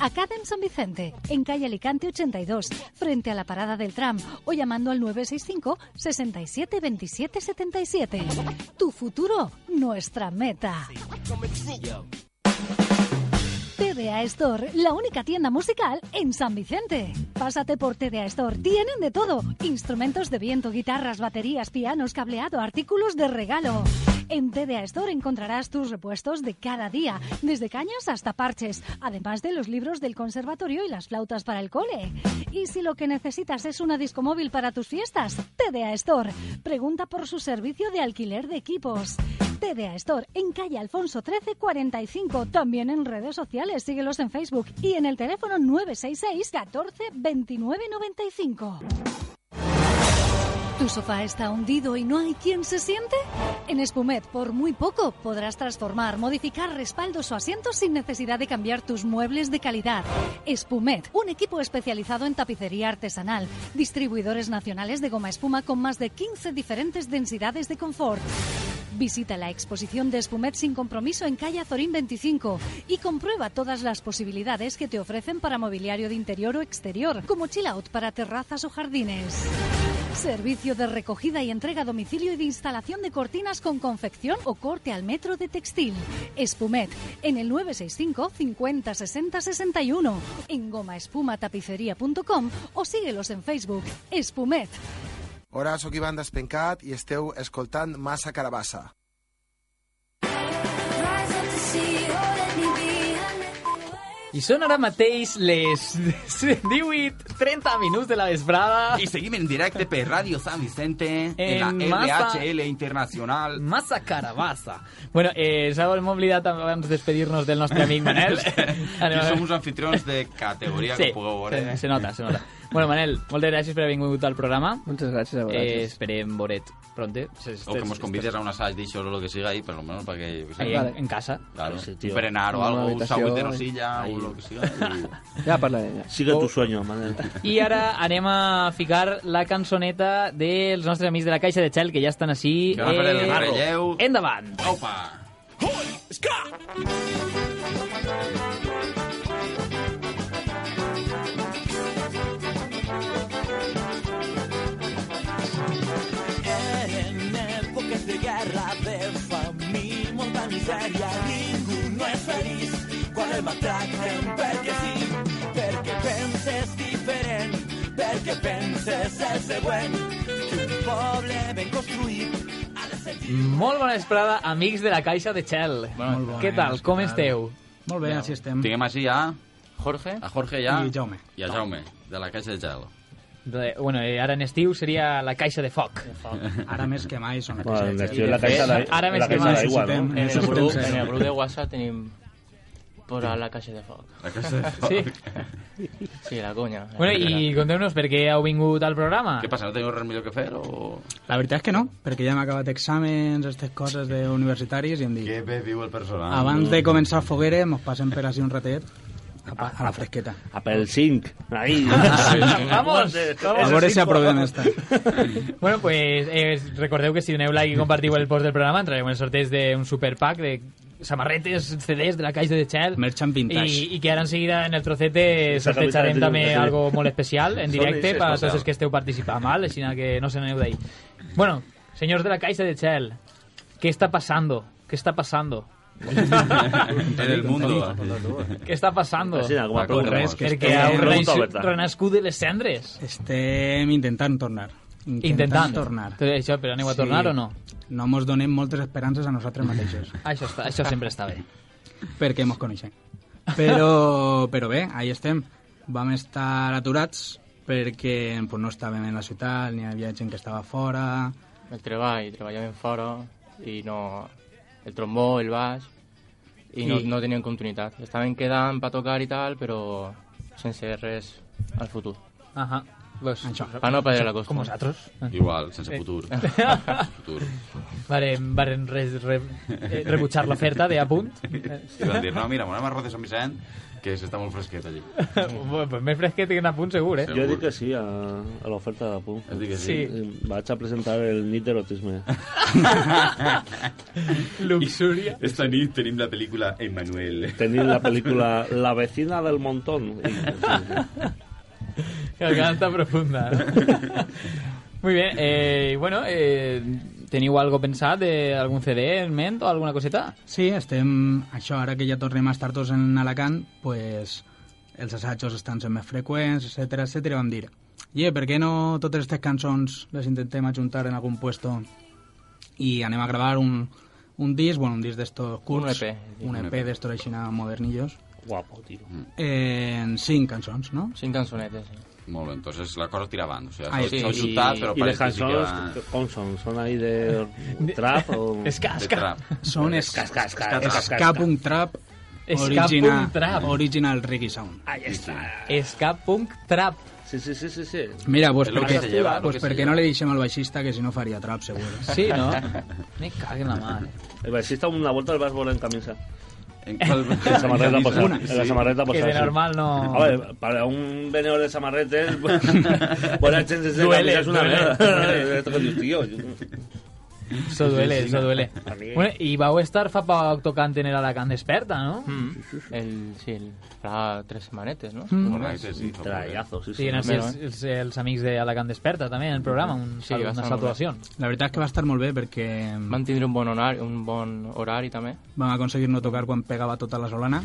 Speaker 7: Academ San Vicente, en calle Alicante 82, frente a la parada del tram o llamando al 965 67 27 77. Tu futuro, nuestra meta. TDA Store, la única tienda musical en San Vicente. Pásate por TDA Store, tienen de todo. Instrumentos de viento, guitarras, baterías, pianos, cableado, artículos de regalo. En TDA Store encontrarás tus repuestos de cada día, desde cañas hasta parches, además de los libros del conservatorio y las flautas para el cole. Y si lo que necesitas es una disco móvil para tus fiestas, TDA Store. Pregunta por su servicio de alquiler de equipos. TDA Store en calle Alfonso 1345. También en redes sociales. Síguelos en Facebook y en el teléfono 966 14 29 95. ¿Tu sofá está hundido y no hay quien se siente? En Espumet, por muy poco, podrás transformar, modificar respaldos o asientos sin necesidad de cambiar tus muebles de calidad. Espumet, un equipo especializado en tapicería artesanal, distribuidores nacionales de goma espuma con más de 15 diferentes densidades de confort. Visita la exposición de Espumet sin compromiso en calle Azorín 25 y comprueba todas las posibilidades que te ofrecen para mobiliario de interior o exterior, como chill out para terrazas o jardines. Servicio de recogida y entrega a domicilio y de instalación de cortinas con confección o corte al metro de textil. Espumet, en el 965 50 60 61, en gomaespumatapicería.com o síguelos en Facebook. Espumet.
Speaker 5: Hola, sóc Ivan Despencat i esteu escoltant Massa Carabassa.
Speaker 3: I són ara mateix les 18.30 minuts de la vesprada.
Speaker 2: Y seguime en directo por Radio San Vicente en,
Speaker 3: En
Speaker 2: la
Speaker 3: masa.
Speaker 2: LHL Internacional.
Speaker 3: Massa carabassa. Bueno, eh, s'ha molt oblidat abans de despedir-nos del nostre amic Manel. eh,
Speaker 2: Y somos anfitriones de categoría que eh. puedo
Speaker 3: se,
Speaker 2: ver.
Speaker 3: se nota, se nota. Bueno, Manel, moltes gràcies per haver vingut al programa.
Speaker 11: Moltes gràcies a
Speaker 3: Eh,
Speaker 11: vosaltres.
Speaker 3: esperem vore't pronte.
Speaker 2: O que nos convides a un asaj de o lo que siga ahí, por lo menos para que... yo qué sé,
Speaker 3: Ahí en,
Speaker 11: Vale.
Speaker 3: en casa.
Speaker 2: claro,
Speaker 9: Sí, tío.
Speaker 2: un frenar o
Speaker 11: Una
Speaker 2: algo, un
Speaker 11: habitación.
Speaker 2: sabut de nosilla o lo que siga.
Speaker 11: Ja parlarem. Ja.
Speaker 9: Sigue
Speaker 7: Oh.
Speaker 9: tu sueño, Manel.
Speaker 3: I ara anem a ficar la cançoneta dels nostres amics de la Caixa de Xel, que ja estan així. Eh,
Speaker 2: Que van fer el relleu.
Speaker 3: Endavant!
Speaker 2: y- ¡Opa!
Speaker 12: En èpoques de guerra, de famí, molta misèria, ningú no és feliç quan el maltracten perquè sí, perquè penses diferent, perquè penses el següent, que un poble ben construït ha de ser lliure.
Speaker 3: Molt bona vesprada, amics de la Caixa de Xel.
Speaker 4: Molt bona,
Speaker 3: Què tal? Com
Speaker 4: què tal?
Speaker 3: esteu?
Speaker 4: Molt bé, així estem.
Speaker 2: Tinguem així a,
Speaker 3: Jorge?
Speaker 2: ¿ah? a Jorge ya
Speaker 4: I Jaume.
Speaker 2: Y a Jaume, de la Caixa de Gel.
Speaker 3: De, bueno, eh, ara en estiu seria la Caixa de Foc. eh.
Speaker 4: Ara més que mai són
Speaker 9: Bueno, en
Speaker 4: aquests.
Speaker 9: l'estiu en la caixa de-
Speaker 3: Ara
Speaker 9: en
Speaker 3: més
Speaker 9: la
Speaker 3: que
Speaker 9: caixa
Speaker 3: mai.
Speaker 9: d'aigua, no?
Speaker 4: Necessitem-
Speaker 9: En el
Speaker 4: necessitem
Speaker 9: grup.
Speaker 4: ser-
Speaker 13: En el grup de WhatsApp tenim posar la caixa de foc.
Speaker 2: La Caixa de Foc.
Speaker 3: Sí.
Speaker 13: Sí, la conya.
Speaker 3: Bueno, i conteu-nos per què heu vingut al programa.
Speaker 2: ¿Qué pasa? ¿No tengo res millor que hacer o...?
Speaker 4: La veritat és que no, perquè ja hem acabat exàmens, aquestes coses d'universitaris, i hem dit...
Speaker 2: Qué bé viu el personal.
Speaker 4: Abans de començar fogueres, mos passem per així un ratet a, pa- a la fresqueta.
Speaker 9: Apple Sync. Ahí.
Speaker 3: Vamos,
Speaker 4: A
Speaker 3: vamos.
Speaker 4: veure si aprovem esta.
Speaker 3: Bueno, pues eh, recordeu que si doneu like i compartiu el post del programa entrareu en el sorteig d'un superpack de samarretes, CDs de la Caixa de Xel.
Speaker 4: Merchant vintage.
Speaker 3: I, i que ara en seguida en el trocete
Speaker 9: Esa
Speaker 3: sortejarem
Speaker 9: camisa de
Speaker 3: també
Speaker 9: triunfo, sí.
Speaker 3: algo molt especial en
Speaker 2: Són
Speaker 3: directe
Speaker 2: ells,
Speaker 3: per a
Speaker 2: especial.
Speaker 3: tots els que esteu participant, mal? així que no se n'aneu d'ahí. Bueno, senyors de la Caixa de Xel, què està passando? Què està passando?
Speaker 2: en el mundo. ¿eh?
Speaker 3: Què està passando?
Speaker 9: Així, alguna
Speaker 2: Paco,
Speaker 9: pregunta.
Speaker 2: res,
Speaker 4: que
Speaker 3: Perquè
Speaker 4: estem-
Speaker 3: heu
Speaker 9: Pregunta
Speaker 3: renasc-
Speaker 9: oberta.
Speaker 3: renascut de les cendres.
Speaker 4: Estem intentant tornar.
Speaker 3: Intentant.
Speaker 4: tornar.
Speaker 3: Tot Això, però aneu a tornar o no?
Speaker 4: No mos donem moltes esperances a nosaltres mateixos,
Speaker 3: Això, està, això sempre està bé.
Speaker 4: perquè mos coneixem. Però, però bé, ahí estem. Vam estar aturats perquè pues, no estàvem en la ciutat, ni hi havia gent que estava fora...
Speaker 13: El treball, treballàvem fora i no... El trombó, el baix... I no,
Speaker 4: I-
Speaker 13: no tenien continuïtat. Estaven quedant per tocar i tal, però sense res al futur.
Speaker 3: Ajá. Pues,
Speaker 4: Això.
Speaker 13: Per no perdre la costa.
Speaker 3: Com vosaltres.
Speaker 2: Igual, sense futur. futur.
Speaker 3: Varen, varen res, re, eh, rebutjar l'oferta de Apunt. Eh,
Speaker 2: I van dir, no, mira, anem a Rodes Sant Vicent, que s'està molt fresquet allí.
Speaker 3: bueno, pues més fresquet que en Apunt segur, eh?
Speaker 9: Jo dic que sí a, a l'oferta de Pum.
Speaker 2: Es dic que sí.
Speaker 3: Sí.
Speaker 9: Vaig a presentar el nit d'erotisme.
Speaker 3: Luxúria.
Speaker 2: Esta nit tenim la pel·lícula Emmanuel.
Speaker 9: Tenim la pel·lícula La vecina del montón. I,
Speaker 3: Garganta profunda. ¿no? Muy bien. Eh, y bueno, eh, ¿teniu algo pensat de algun CD en ment o alguna coseta?
Speaker 4: Sí, estem... Això, ara que ja tornem a estar tots en Alacant, pues, els assajos estan sent més freqüents, etc etc. vam dir, yeah, per què no totes aquestes cançons les intentem ajuntar en algun puesto i anem a gravar un, un disc, bueno, un disc d'estos curts,
Speaker 13: EP,
Speaker 4: un E EP,
Speaker 2: EP.
Speaker 4: d'estos així modernillos,
Speaker 9: Guapo, tio.
Speaker 4: eh, en cinc cançons, no?
Speaker 13: Cinc cançonetes, sí.
Speaker 2: Molt bé, entonces la cosa tira avant. O sigui,
Speaker 4: Ai,
Speaker 2: s'ha
Speaker 4: sí,
Speaker 2: s'ha
Speaker 4: i-
Speaker 2: juntat, però
Speaker 9: I les
Speaker 2: pareix que sí que
Speaker 9: cançons,
Speaker 2: va...
Speaker 9: com són? Són ahí de trap o...
Speaker 3: Es
Speaker 2: de
Speaker 3: casca.
Speaker 2: trap.
Speaker 4: Són es,
Speaker 9: Esca, esca, esca, esca.
Speaker 4: Escapum Trap,
Speaker 3: Ska
Speaker 4: original,
Speaker 3: punk trap.
Speaker 4: original Reggae Sound.
Speaker 9: Ahí està.
Speaker 3: Ska Punk Trap.
Speaker 9: Sí, sí, sí, sí, sí.
Speaker 4: Mira, pues
Speaker 2: És lo que
Speaker 4: perquè,
Speaker 2: se lleva, lo
Speaker 4: pues
Speaker 2: que se
Speaker 4: perquè
Speaker 2: lleva.
Speaker 4: no li deixem al baixista que si no faria trap, segur.
Speaker 3: Sí, no? Me cago en la mare.
Speaker 9: El baixista una volta el vas voler en camisa.
Speaker 2: En qual...
Speaker 9: En samarreta posada.
Speaker 4: Una.
Speaker 9: En la samarreta
Speaker 3: Que
Speaker 9: posada.
Speaker 3: de
Speaker 9: sí.
Speaker 3: normal no...
Speaker 9: A ver, para un vendedor de pues, samarretes, buena chance de
Speaker 3: Duele,
Speaker 9: es una
Speaker 3: duele,
Speaker 9: mierda. Esto que dices, tío.
Speaker 3: Eso duele, eso duele.
Speaker 14: A mí-
Speaker 3: Bueno, y vau estar fa poc tocant en el Alacant Desperta, no?
Speaker 14: El, sí, el, hará tres semanetes, ¿no?
Speaker 3: Mm.
Speaker 2: Correcte, sí, eh. fa
Speaker 14: Trayazo, sí, sí.
Speaker 3: Sí, van ser
Speaker 9: ¿eh?
Speaker 3: els, els, els amics de Alacant Desperta, també, en el programa, un,
Speaker 14: Sí,
Speaker 3: sí,
Speaker 14: va
Speaker 3: una
Speaker 14: estar molt bé.
Speaker 3: salutació.
Speaker 15: La veritat és que va estar molt bé perquè... mm,
Speaker 14: Van tindre un bon horari, un bon horari també.
Speaker 15: vam aconseguir no tocar quan pegava tota la solana.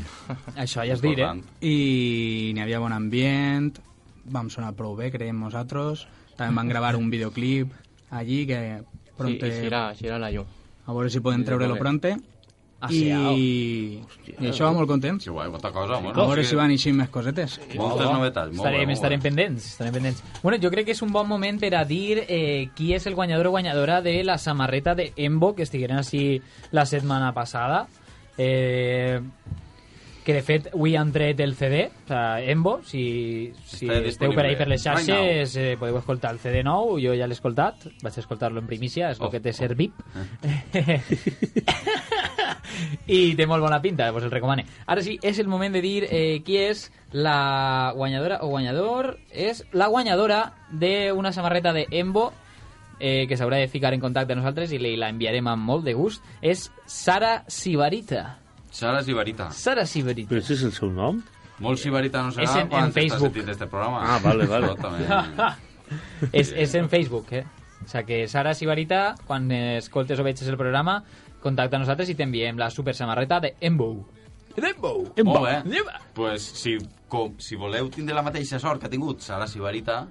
Speaker 3: Això ja és dir, eh? Important.
Speaker 15: I n'hi havia bon ambient, vam sonar prou bé, creiem nosaltres. També vam gravar un videoclip allí que... Pronte...
Speaker 14: Sí, i girar, girar la llum.
Speaker 15: A veure si podem
Speaker 14: Sí,
Speaker 15: treure-lo
Speaker 14: molt bé.
Speaker 15: pronte.
Speaker 14: Ah,
Speaker 15: I...
Speaker 14: sí, au.
Speaker 15: I això va molt contents.
Speaker 2: Que guai, molta cosa, bueno.
Speaker 15: a veure
Speaker 2: és
Speaker 15: si
Speaker 2: que-
Speaker 15: van eixir més cosetes.
Speaker 2: Moltes novetats, molt
Speaker 3: estarem,
Speaker 2: bé, molt
Speaker 3: estarem pendents, estarem pendents. Bueno, jo crec que és un bon moment per a dir eh, qui és el guanyador o guanyadora de la samarreta de Embo, que estigueren així la setmana passada. Eh, que de fet avui han tret el CD, o sigui, Embo, si, si
Speaker 2: Està
Speaker 3: esteu per ahí
Speaker 2: disponible.
Speaker 3: per les xarxes
Speaker 2: Right
Speaker 3: eh, podeu escoltar el CD nou, jo ja l'he escoltat, vaig escoltar-lo en primícia, és el que té ser VIP. I té molt bona pinta, vos el recomane. Ara sí, és el moment de dir eh, qui és la guanyadora o guanyador. És la guanyadora d'una samarreta de Embo, eh, que s'haurà de ficar en contacte amb nosaltres i li la enviarem amb molt de gust. És Sara Sibarita.
Speaker 2: Sara Sibarita.
Speaker 3: Sara Sibarita.
Speaker 9: Però això és el seu nom?
Speaker 2: Molt Sibarita no serà
Speaker 3: És en-
Speaker 2: quan
Speaker 3: en
Speaker 2: t'estàs
Speaker 3: Facebook.
Speaker 2: sentint este programa.
Speaker 9: Ah, vale, vale.
Speaker 2: Absolutament.
Speaker 3: és, és en Facebook, eh? O sea que Sara Sibarita, quan eh, escoltes o veges el programa, contacta a nosaltres i t'enviem la super samarreta de Embo. Dembo!
Speaker 2: Molt bé. pues, si, com, si voleu tindre la mateixa sort que ha tingut Sara Sibarita,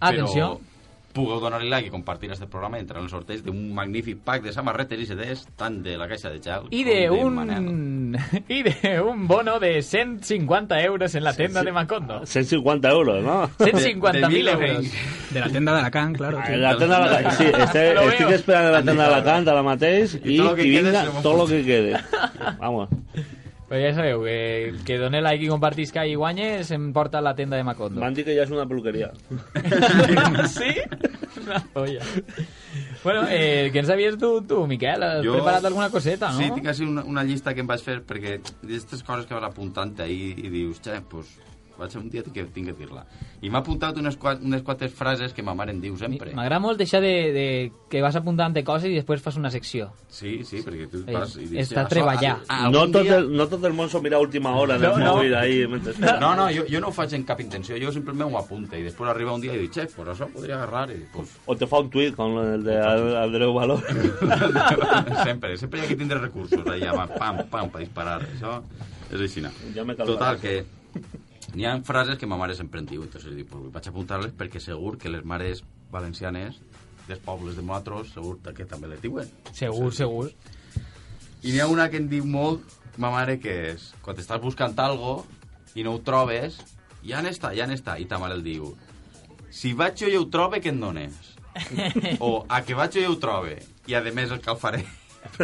Speaker 3: Ah, Atenció.
Speaker 2: però pugueu donar-li like i compartir este programa entre els sorteig d'un magnífic pack de samarretes i CDs, tant de la caixa de gel
Speaker 3: Y
Speaker 2: com
Speaker 3: de
Speaker 2: Manel.
Speaker 3: un y de un bono de 150 euros en la tienda de Macondo.
Speaker 9: 150 euros, ¿no?
Speaker 3: 150.000 euros.
Speaker 15: De la tenda de la Can, claro.
Speaker 9: En la tenda de la sí, este,
Speaker 3: Lo veo.
Speaker 9: estic esperant a la tenda de la Canta ara mateix i,
Speaker 2: I tot lo que
Speaker 9: i
Speaker 2: quede
Speaker 9: vinga,
Speaker 2: se lo
Speaker 9: tot lo que quede. Vamos.
Speaker 3: Pues ya sabeu, que el que done like y compartisca y guañe se importa la tienda de Macondo.
Speaker 9: Van dir que ja és una peluqueria.
Speaker 3: sí? Una polla. Bueno, eh, què ens havies dut tu, Miquel? Has preparat alguna coseta, no?
Speaker 2: Sí, tinc així una, una llista que em vaig fer perquè d'aquestes coses que vas apuntant ahir i dius, xe, pues, vaig un dia que tinc que dir-la. I m'ha apuntat unes, qua- unes quantes frases que ma mare em diu sempre.
Speaker 3: M'agrada molt deixar de, de, que vas apuntant de coses i després fas una secció.
Speaker 2: Sí, sí, perquè tu
Speaker 3: Eh,
Speaker 2: vas i dius...
Speaker 3: està
Speaker 2: "Això,
Speaker 3: treballar".
Speaker 2: a- a-
Speaker 9: no,
Speaker 2: algun
Speaker 9: tot
Speaker 2: dia-
Speaker 9: el, no tot el món s'ho mira a última hora en el
Speaker 2: Ah, No, no.
Speaker 9: mòbil ahí. Mentre...
Speaker 2: No, no, jo, jo no ho faig amb cap intenció, jo simplement ho apunte i després arriba un dia i dic, xef, pues això podria agarrar i pues,
Speaker 9: O te fa un tuit com el de Al- Andreu Valor.
Speaker 2: sempre, sempre hi ha que tindre recursos allà, va, pam, pam, per disparar, això és així. no.
Speaker 9: Ja me calmaré.
Speaker 2: Total, que n'hi ha frases que ma mare sempre em diu, entonces dic, pues, vaig apuntar-les perquè segur que les mares valencianes dels pobles de nosaltres, segur que també les diuen.
Speaker 3: Segur, segur.
Speaker 2: I n'hi ha una que em diu molt, ma mare, que és, quan estàs buscant algo i no ho trobes, ja n'està, ja n'està, i ta mare el diu, si vaig jo i ho trobe, què em dones? o a que vaig jo i ho trobe, i a més el calfaré.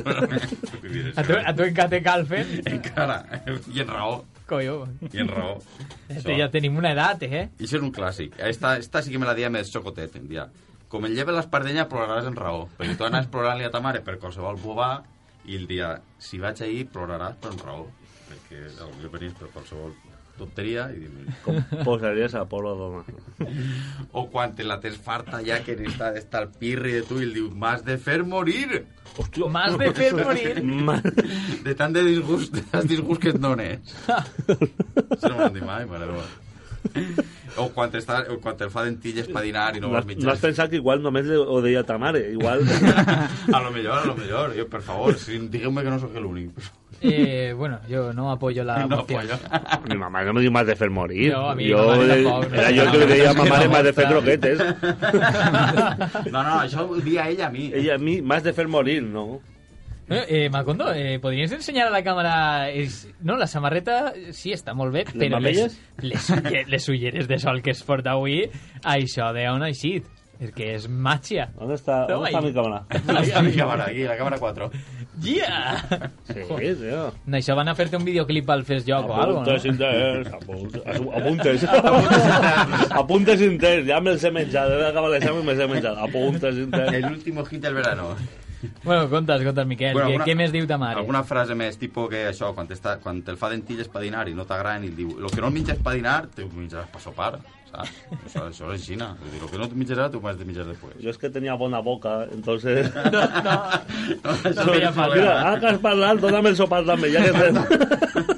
Speaker 3: A tu, a tu encara te calfen?
Speaker 2: Encara, i en raó,
Speaker 3: Coyo.
Speaker 2: i en raó.
Speaker 3: Este, ja tenim una edat, eh?
Speaker 2: I això és un clàssic. Esta, esta sí que me la dia més xocotet, em dia. Com el lleve l'espardenya, ploraràs en raó. Perquè tu anaves plorant-li a ta mare per qualsevol bobà i el dia, si vaig ahir, ploraràs per en raó. Perquè potser venies per qualsevol tonteria i dius,
Speaker 9: Com posaries a Polo Doma.
Speaker 2: o quan te la tens farta ja que està, està el pirri de tu i el diu m'has de fer morir
Speaker 9: Hòstia.
Speaker 3: M'has de fer morir.
Speaker 2: de tant de disgust, de tant disgust que et dones això no m'ho han dit mai mare meva. o quan, està, o quan te'l fa dentilles per dinar i no
Speaker 9: No,
Speaker 2: vols
Speaker 9: has- no
Speaker 2: mitjans
Speaker 9: has pensat que igual només le- ho deia ta mare, igual...
Speaker 2: a lo millor, a lo millor jo, per favor, si, digueu-me que no sóc l'únic
Speaker 3: Eh, bueno, yo no apoyo la
Speaker 2: no
Speaker 3: moción.
Speaker 2: apoyo
Speaker 9: Mi mamá no me diu m'has de fer morir.
Speaker 3: No, a mi
Speaker 9: jo,
Speaker 3: ma mare tampoc, no.
Speaker 9: era jo que li deia a ma mare m'has de fer croquetes.
Speaker 2: no, no, això ho dia ella a mi
Speaker 9: Ella a mi m'has de fer morir, no.
Speaker 3: Eh, eh, Macondo, eh, podries ensenyar a la càmera... És... No, la samarreta eh, sí està molt bé, però les,
Speaker 9: mamelles?
Speaker 3: les, ulle- les ulleres de sol que es porta avui, això de on ha eixit, perquè és màgia.
Speaker 9: On està, on
Speaker 3: Toma
Speaker 9: està
Speaker 3: ahí.
Speaker 9: mi càmera?
Speaker 2: Ahí està mi càmera, aquí, la càmera 4
Speaker 3: Yeah!
Speaker 9: Sí, tio.
Speaker 3: No, això van a fer-te un videoclip al Fes Joc o alguna
Speaker 9: Apuntes
Speaker 3: cosa, no?
Speaker 9: interns, apuntes, apuntes, apuntes interns, ja me'ls he menjat, he d'acabar l'examen i me'ls he menjat, apuntes interns.
Speaker 2: el último hit del verano
Speaker 3: Bueno, contes, contes, Miquel. Bueno, alguna... Què més diu ta mare?
Speaker 2: Alguna frase més, tipus que això, quan, està, quan te'l fa dentill és pa dinar i no t'agrada i et diu, lo que no menges pa dinar, te ho menjaràs pa sopar, saps? Això, això és aixina. Vull dir, Lo que no et menjaràs, t'ho has de menjar després.
Speaker 9: Yo es que tenía buena boca, entonces... No,
Speaker 2: no.
Speaker 9: Eso es- Mira, ara que has parlat, dona'm el sopar també, ja que estem.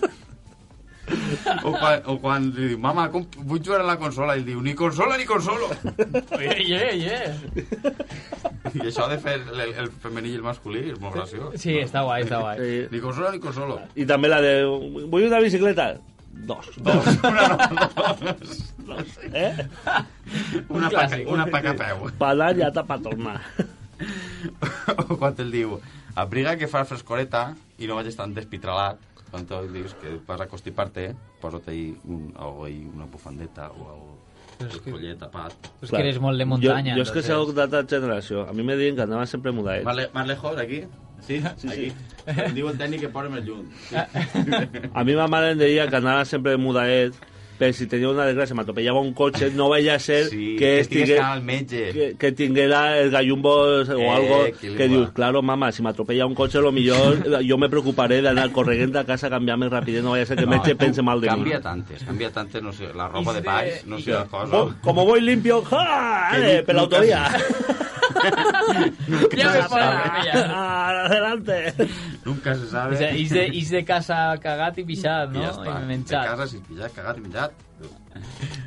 Speaker 2: o, quan, o quan li diu, mama, com vull jugar a la consola? I ell diu, ni consola ni consolo.
Speaker 3: Oye, yeah, yeah.
Speaker 2: I això de fer el, el femení i el masculí és molt graciós.
Speaker 3: Sí, està guai, està guai.
Speaker 2: Sí. Ni consola ni consolo.
Speaker 9: I també la de... Vull una bicicleta. Dos. Dos. Eh?
Speaker 2: Una pa, ca- una pa que peu.
Speaker 9: Pa anar i altra pa tornar.
Speaker 2: o quan te'l diu, abriga que fa frescoreta i no vagis tan despitralat. Quan tu dius que vas a constipar-te, posa't ahí, un, algo ahí una bufandeta o algo el collet tapat.
Speaker 3: Però és que eres molt de muntanya,
Speaker 9: Jo, jo és que
Speaker 3: entonces.
Speaker 9: sóc d'altra generació. A mi me diuen que anava sempre mudaet.
Speaker 2: Más, le- más lejos, aquí. Sí, sí, Ah, aquí. Em diu el tècnic que posa'm el llum.
Speaker 9: A mi ma mare em deia que anava sempre mudaet perquè si tenia una desgràcia, m'atropellava un cotxe, no veia a ser
Speaker 2: Sí,
Speaker 9: que,
Speaker 2: que
Speaker 9: estigué-
Speaker 2: tingués que anar al metge.
Speaker 9: Que, que tinguera el gallumbo o
Speaker 2: Eh,
Speaker 9: algo
Speaker 2: equilibra.
Speaker 9: que dius, claro, mama, si m'atropella un cotxe, lo millor eh, jo me preocuparé d'anar corregent a casa a canviar-me ràpid, no vaya a ser que el metge pense mal de mi.
Speaker 2: Cambia tantes, cambia tantes, no sé, la ropa
Speaker 9: I
Speaker 2: de
Speaker 9: se- Oh.
Speaker 2: paix, no sé,
Speaker 9: i-
Speaker 2: les coses.
Speaker 9: Bo- Como voy limpio, ¡ja! Eh, per l'autovia.
Speaker 3: Ja me
Speaker 9: Ah, ah, Adelante.
Speaker 2: Nunca se sabe.
Speaker 3: O sea, ix de, ix de casa cagat i pixat,
Speaker 2: I
Speaker 3: no?
Speaker 2: ja està.
Speaker 3: I
Speaker 2: De
Speaker 3: menjat.
Speaker 2: casa, si pillat, cagat i menjat.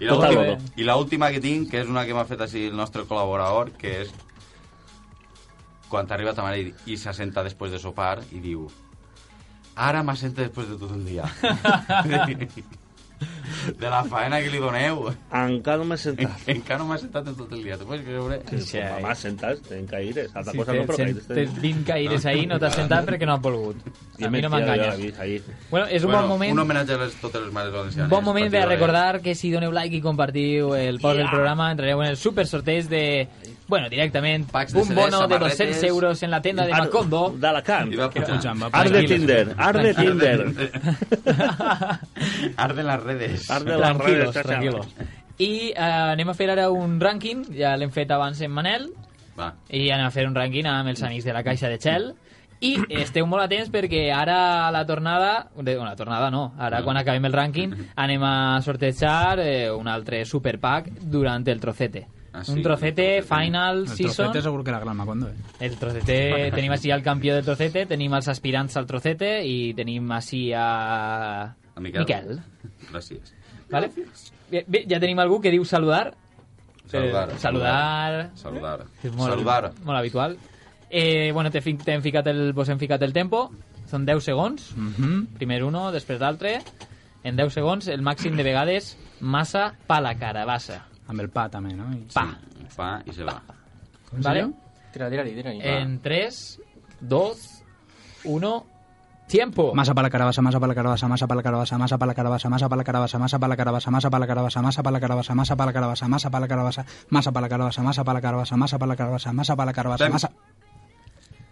Speaker 2: I
Speaker 9: Tot
Speaker 2: l'última-
Speaker 9: al lodo.
Speaker 2: I l'última que tinc, que és una que m'ha fet així el nostre col·laborador, que és quan arriba ta mare i, i s'assenta després de sopar i diu ara m'assenta després de tot el dia. de la faena que li doneu.
Speaker 9: Encara no m'he sentat.
Speaker 2: Encara no m'ha sentat en tot el dia. T'ho pots creure?
Speaker 9: Sí, Mamà, senta't, ten caires. Altra
Speaker 3: Sí,
Speaker 9: cosa
Speaker 3: te-
Speaker 9: no, però
Speaker 3: sen-
Speaker 9: caires.
Speaker 3: tens 20 caires ahí, no t'has sentat perquè no has volgut. A mi no m'enganyes. Bueno, és un bon moment-
Speaker 2: Un homenatge a les, totes les mares valencianes.
Speaker 3: Bon moment de
Speaker 2: eh, Partido
Speaker 3: recordar que si doneu like i compartiu el post del
Speaker 2: Yeah.
Speaker 3: programa entrareu en el super sorteig de, bueno, directament,
Speaker 2: de Ah,
Speaker 3: un
Speaker 2: CD,
Speaker 3: bono de
Speaker 2: samarretes.
Speaker 3: 200 euros en la tienda de
Speaker 9: Ar-
Speaker 3: Macondo.
Speaker 9: De la camp.
Speaker 2: I va posant.
Speaker 9: Art de Tinder, art de Tinder.
Speaker 2: Arde las redes.
Speaker 9: Arde
Speaker 3: les Tranquilos, redes, tranquilos. I eh, anem a fer ara un rànquing, ja l'hem fet abans en Manel,
Speaker 2: Va.
Speaker 3: i anem a fer un rànquing amb els amics de la Caixa de Xel. I eh, esteu molt atents perquè ara a la tornada, de, bueno, la tornada no, ara quan acabem el rànquing anem a sortejar eh, un altre superpack durant el trocete.
Speaker 15: Ah,
Speaker 3: un
Speaker 15: sí,
Speaker 3: trocete final
Speaker 15: El
Speaker 3: season.
Speaker 15: trocete seguro que la calma cuando es.
Speaker 3: El trocete, tenim així el campió del trocete, tenim els aspirants al trocete i tenim així a...
Speaker 2: A Miquel.
Speaker 3: Miquel. Eh,
Speaker 2: Gràcies.
Speaker 3: Vale? Bé, bé, ja tenim algú que diu saludar.
Speaker 2: Saludar.
Speaker 3: Eh, saludar.
Speaker 2: Saludar.
Speaker 3: És molt,
Speaker 2: Saludar.
Speaker 3: Molt habitual. Eh, bueno, t'he fi- t'hem ficat el, vos hem ficat el tempo. Són 10 segons.
Speaker 2: Mhm.
Speaker 3: Primer uno, després l'altre. En 10 segons, el màxim de vegades, massa pa la carabassa.
Speaker 15: Amb el pa també, no? I...
Speaker 3: Pa.
Speaker 2: Pa y se va.
Speaker 3: ¿Vale?
Speaker 14: Tira, tira, tira.
Speaker 3: En 3, 2, 1... Tiempo.
Speaker 15: Masa para la carabaza, masa para la carabaza, masa para la carabaza, masa para la carabaza, masa para la carabaza, masa para la carabaza, masa para la carabaza, masa para la carabaza, masa para la carabaza, masa para la carabaza, masa para la carabaza, masa para la carabaza, masa para la carabaza, masa para la carabaza,
Speaker 2: Tem.
Speaker 15: masa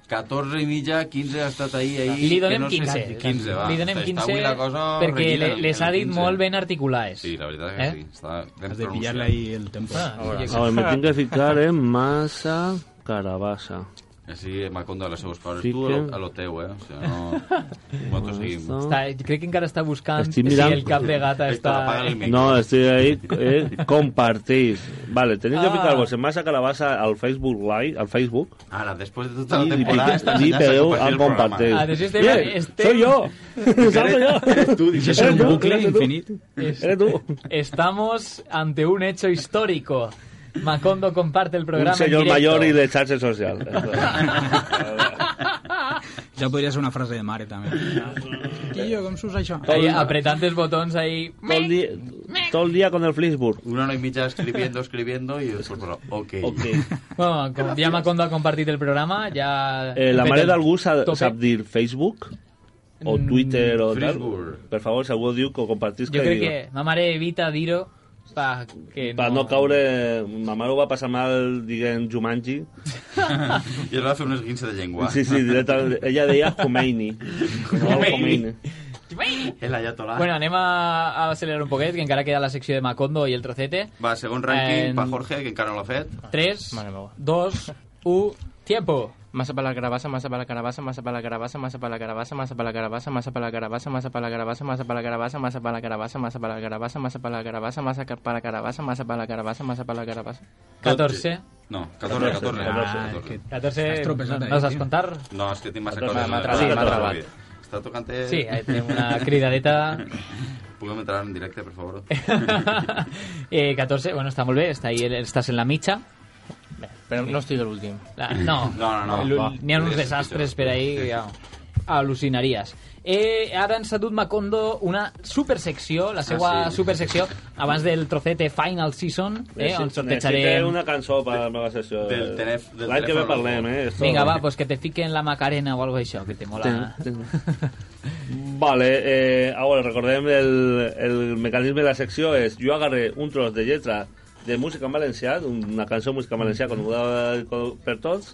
Speaker 2: 14 i mitja, 15 ha estat ahir, ahir...
Speaker 3: Li
Speaker 2: que
Speaker 3: donem
Speaker 2: no sé-
Speaker 3: 15.
Speaker 2: 15, va.
Speaker 3: Li donem
Speaker 2: Està-
Speaker 3: 15
Speaker 2: Està avui la cosa...
Speaker 3: perquè
Speaker 2: renyida,
Speaker 3: le- les
Speaker 2: el
Speaker 3: ha dit
Speaker 2: 15.
Speaker 3: molt ben articulades.
Speaker 2: Sí, la veritat que
Speaker 3: Eh?
Speaker 2: sí. Està ben
Speaker 15: Has de pillar-la
Speaker 2: pronunciat.
Speaker 15: ahí el tempo.
Speaker 3: Ah,
Speaker 15: Ahora.
Speaker 9: A ver, me tengo que fijar en masa carabasa.
Speaker 2: Així, Macondo, a les seves coses.
Speaker 9: Sí
Speaker 2: tu
Speaker 9: que-
Speaker 2: a lo, a lo teu, eh? O sigui, no... Nosaltres seguim.
Speaker 3: Està, crec que encara està buscant
Speaker 9: Estic
Speaker 3: si
Speaker 9: mirant.
Speaker 3: el cap de gata està...
Speaker 9: No, estoy ahí, eh, compartís. Vale, tenéis que
Speaker 3: Ah.
Speaker 9: fijaros en masa calabaza al Facebook Live, al Facebook.
Speaker 2: Ara, després de tota
Speaker 9: Y
Speaker 2: la temporada, estàs
Speaker 9: di- di-
Speaker 2: allà
Speaker 9: pero
Speaker 2: a
Speaker 9: al
Speaker 2: compartir
Speaker 9: compartir.
Speaker 3: Ah,
Speaker 2: el programa.
Speaker 9: Bien, soy yo. Salgo yo.
Speaker 2: Tú
Speaker 15: dices, es un
Speaker 9: Eres tú,
Speaker 15: bucle
Speaker 9: eres tú.
Speaker 15: infinito.
Speaker 9: Eres tú.
Speaker 3: Estamos ante un hecho histórico. Macondo comparte el programa
Speaker 9: Un señor
Speaker 3: en directo.
Speaker 9: mayor y de charse social.
Speaker 15: Ja podria ser una frase de mare també. Eh. Quillo, com s'usa això?
Speaker 3: Ahí, apretant els botons ahí...
Speaker 9: Todo el día, todo el día con el Facebook.
Speaker 2: Una hora y mitja escribiendo, escribiendo y después, bueno, ok.
Speaker 3: Bueno, com ja Macondo ha compartit el programa, ja...
Speaker 9: Eh,
Speaker 3: hem
Speaker 9: la
Speaker 3: fet
Speaker 9: mare
Speaker 3: el
Speaker 9: d'algú s'ha
Speaker 3: tope. Mm,
Speaker 9: sap dir Facebook o Twitter o tal.
Speaker 2: Facebook.
Speaker 9: Per favor, si algú diu que ho compartís
Speaker 3: Jo crec que eh, ma mare evita dir-ho pa que
Speaker 9: Per no caure... Ma mare ho va passar mal, diguem, Jumanji.
Speaker 2: I es va fer un esguince de llengua.
Speaker 9: Sí, sí, directament. Ella deia Khomeini.
Speaker 2: Khomeini.
Speaker 9: Khomeini.
Speaker 2: El ayatolá.
Speaker 3: Bueno, anem a, a accelerar un poquet, que encara queda la secció de Macondo i el trocete.
Speaker 2: Va, segon rànquing,
Speaker 3: Eh,
Speaker 2: pa Jorge, que encara no l'ha fet.
Speaker 3: 3, 2, 1, tiempo.
Speaker 16: Masa para la carabassa, masa para la carabassa, masa para la carabassa, masa para la carabassa, masa para la carabassa, masa para la carabassa, masa para la carabassa, masa para la carabassa, masa para la carabassa, masa para la carabassa, masa para la carabassa, masa ca- para la carabassa, masa para la carabassa, masa para la carabassa.
Speaker 2: 14. No, 14, 14. 14.
Speaker 16: 14, no, no saps contar?
Speaker 2: No, és que tinc massa
Speaker 16: 14,
Speaker 2: coses.
Speaker 16: m'ha atrapat, m'ha atrapat.
Speaker 2: Està tocant... eh?
Speaker 16: Sí, ahí tenim una cridadeta.
Speaker 2: Puguem entrar en directe, per favor?
Speaker 3: Eh, 14, bueno, está muy bien, está ahí, estás en la micha.
Speaker 16: Pero no estoy del último.
Speaker 3: no,
Speaker 2: No, no, no,
Speaker 3: Lu-
Speaker 2: va.
Speaker 3: N'hi ha uns
Speaker 2: Podria ser
Speaker 3: desastres per
Speaker 2: pitjor.
Speaker 3: ahir,
Speaker 2: Sí.
Speaker 3: sí. al·lucinaries. Eh, ara ens ha dut Macondo una supersecció, la seva
Speaker 9: Ah, sí.
Speaker 3: supersecció, abans del trocete Final Season, eh, on
Speaker 9: Necessitaré
Speaker 3: sortejarem...
Speaker 9: una cançó per la meva sessió.
Speaker 2: Del telèf- del
Speaker 9: L'any que ve
Speaker 2: telèfon.
Speaker 9: parlem, eh? esto-
Speaker 3: Vinga, va, pues que te fiquen la Macarena o algo això, que te mola.
Speaker 9: Vale, eh, ahora recordem el, el mecanisme de la secció és jo agarré un tros de lletra de música en valencià, una cançó de música en valencià coneguda co- per tots,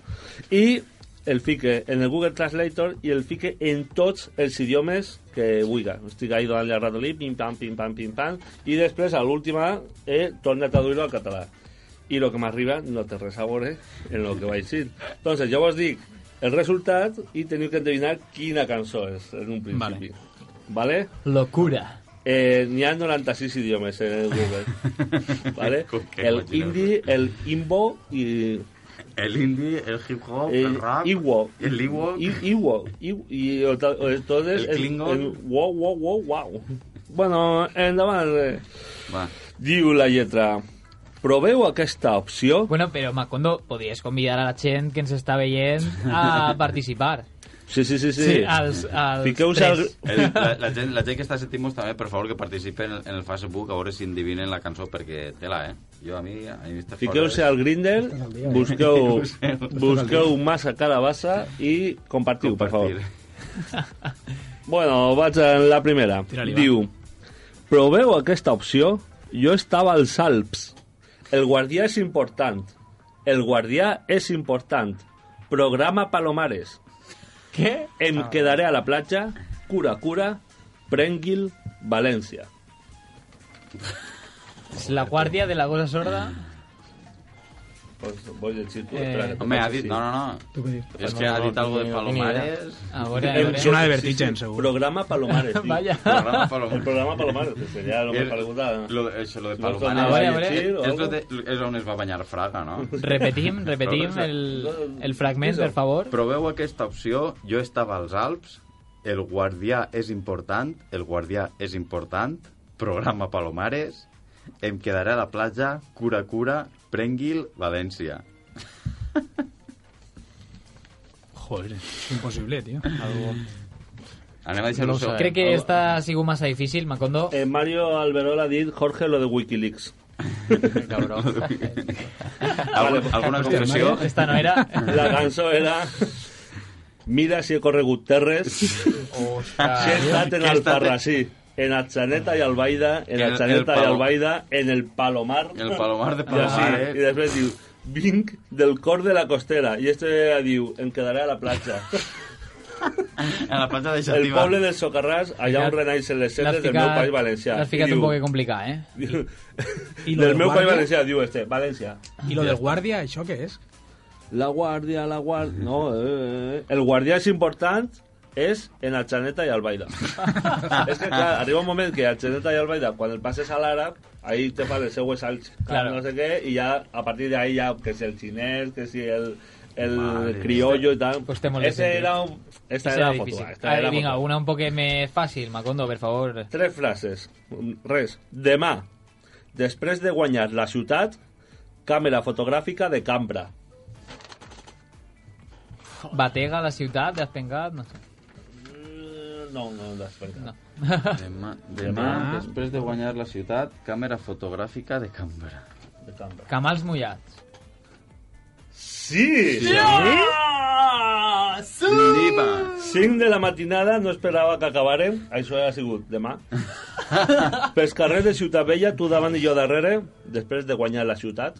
Speaker 9: i el fique en el Google Translator i el fique en tots els idiomes que vulga. Estic ahí donant-li al ratolí, pim, pam, pim, pam, pim, pam, i després, a l'última, eh, torna a traduir-lo al català. I lo que m'arriba no té res a veure en lo que vaig dir. Entonces, jo vos dic el resultat i teniu que endevinar quina cançó és en un principi. Vale. vale?
Speaker 3: Locura.
Speaker 9: Eh, N'hi ha 96 idiomes en el Google. vale? el hindi, el imbo i...
Speaker 2: El hindi, el hip hop, el rap,
Speaker 9: Iwo.
Speaker 2: el iwo.
Speaker 9: I- Iwo. I- I o ta- eh, o entonces...
Speaker 2: El klingon.
Speaker 9: wow, wow, wow, wow. Bueno, endavant. eh.
Speaker 2: Va.
Speaker 9: Diu la lletra. Proveu aquesta opció...
Speaker 3: Bueno, però Macondo, podries convidar a la gent que ens està veient a participar.
Speaker 9: Sí, sí, sí. sí.
Speaker 3: Sí, als- als Fiqueu-se tres. al-
Speaker 2: El, la, la, gent, la gent que està sentint-nos també, per favor, que participen en, el Facebook a veure si endivinen la cançó, perquè tela, eh? Jo a mi... A mi està
Speaker 9: Fiqueu-se al Grindr, busqueu, busqueu massa carabassa i compartiu, per favor. Bueno, vaig a la primera.
Speaker 2: Tira-li, va.
Speaker 9: Diu, proveu aquesta opció, jo estava als Alps. El guardià és important. El guardià és important. Programa Palomares.
Speaker 3: Què?
Speaker 9: Em
Speaker 3: Ah.
Speaker 9: quedaré a la platja, cura, cura, Prenguil, València.
Speaker 3: És la guàrdia de la gosa sorda.
Speaker 9: Pues voy a decir tú,
Speaker 3: Eh,
Speaker 9: espera que te
Speaker 2: Home, ha
Speaker 9: pase,
Speaker 2: dit...
Speaker 9: sí.
Speaker 2: No, no, no.
Speaker 9: Tu què dius?
Speaker 2: És que ha dit
Speaker 9: No, no,
Speaker 2: algo de
Speaker 9: no, no,
Speaker 2: Palomares.
Speaker 9: A veure, a veure.
Speaker 4: Suena de
Speaker 9: Sí, sí,
Speaker 4: Vertigen,
Speaker 9: sí.
Speaker 4: seguro.
Speaker 9: Programa Palomares. diu.
Speaker 4: Vaya.
Speaker 2: Programa Palomares.
Speaker 9: El programa Palomares, que sería lo que
Speaker 2: El-
Speaker 9: preguntaba.
Speaker 2: Lo, eso, lo de
Speaker 9: Si
Speaker 2: Palomares.
Speaker 9: no tornava a llegir o
Speaker 2: És,
Speaker 9: algo.
Speaker 2: lo de, és on es va banyar Fraga, no?
Speaker 3: Repetim, repetim el, el fragment, per favor.
Speaker 2: Proveu aquesta opció. Jo estava als Alps. El guardià és important. El guardià és important. Programa Palomares. Em quedaré a la platja. Cura, cura. Prenguil, València.
Speaker 4: Joder, imposible, tío.
Speaker 2: Anem a deixar-ho sol.
Speaker 3: Crec que esta ha sigut massa difícil, Macondo.
Speaker 9: Eh, Mario Alberola dit Jorge lo de Wikileaks.
Speaker 16: Cabrón.
Speaker 9: alguna
Speaker 3: expressió? Esta no era.
Speaker 9: La cançó era... Mira si he corregut terres. Si he estat en
Speaker 2: Que he estat-
Speaker 9: Alfarrasí, en Atxaneta i Albaida, en
Speaker 2: El- el
Speaker 9: Atxaneta i
Speaker 2: Palo-
Speaker 9: Albaida, en el Palomar.
Speaker 2: El Palomar de
Speaker 9: I així,
Speaker 2: Palomares.
Speaker 9: I després diu, vinc del cor de la costera. I este diu, em quedaré a la platja.
Speaker 2: eh? A la platja de
Speaker 9: El
Speaker 2: Xativa.
Speaker 9: poble dels Socarràs, allà on renaixen les
Speaker 3: L'has
Speaker 9: cendres del meu
Speaker 3: ficat-
Speaker 9: país valencià.
Speaker 3: L'has
Speaker 9: I
Speaker 3: ficat un
Speaker 9: diu,
Speaker 3: poc complicat, eh?
Speaker 9: I
Speaker 4: lo
Speaker 9: del
Speaker 4: del
Speaker 9: meu país
Speaker 4: guàrdia?
Speaker 9: valencià, diu este, València.
Speaker 4: ¿Y lo del guardia, això què és?
Speaker 9: La guàrdia, la guàrdia... No, eh, eh, eh. El guardià és important és en Atxaneta i Albaida. és que, clar, arriba un moment que Atxaneta i Albaida, quan el passes a l'àrab, ahí te fa les seues salts,
Speaker 3: Claro.
Speaker 9: no sé què, i ja, a partir d'ahí, ja, que si el xinès, que si el, el
Speaker 3: Madre.
Speaker 9: criollo i tal...
Speaker 3: Pues té molt de
Speaker 9: Este
Speaker 3: sentit.
Speaker 9: era un... Esta
Speaker 3: Ese
Speaker 9: era
Speaker 3: era
Speaker 9: la
Speaker 3: difícil.
Speaker 9: foto. Esta
Speaker 3: Ahí,
Speaker 9: era la
Speaker 3: vinga,
Speaker 9: foto.
Speaker 3: una un poc més fàcil, Macondo, per favor.
Speaker 9: Tres frases. Res. Demà, després de guanyar la ciutat, càmera fotogràfica de cambra.
Speaker 3: Batega la ciutat, despencat, no sé.
Speaker 9: Eh, No, no, després.
Speaker 3: No.
Speaker 2: Demà, demà, després de guanyar la ciutat, càmera fotogràfica de cambra.
Speaker 9: De cambra.
Speaker 3: Camals mullats.
Speaker 9: Sí!
Speaker 2: Sí!
Speaker 9: Sí!
Speaker 2: Flipa.
Speaker 9: 5 de la matinada no esperava que acabàrem, això ha sigut demà. Pels carrers de Ciutat Vella, tu davant i jo darrere, després de guanyar la ciutat.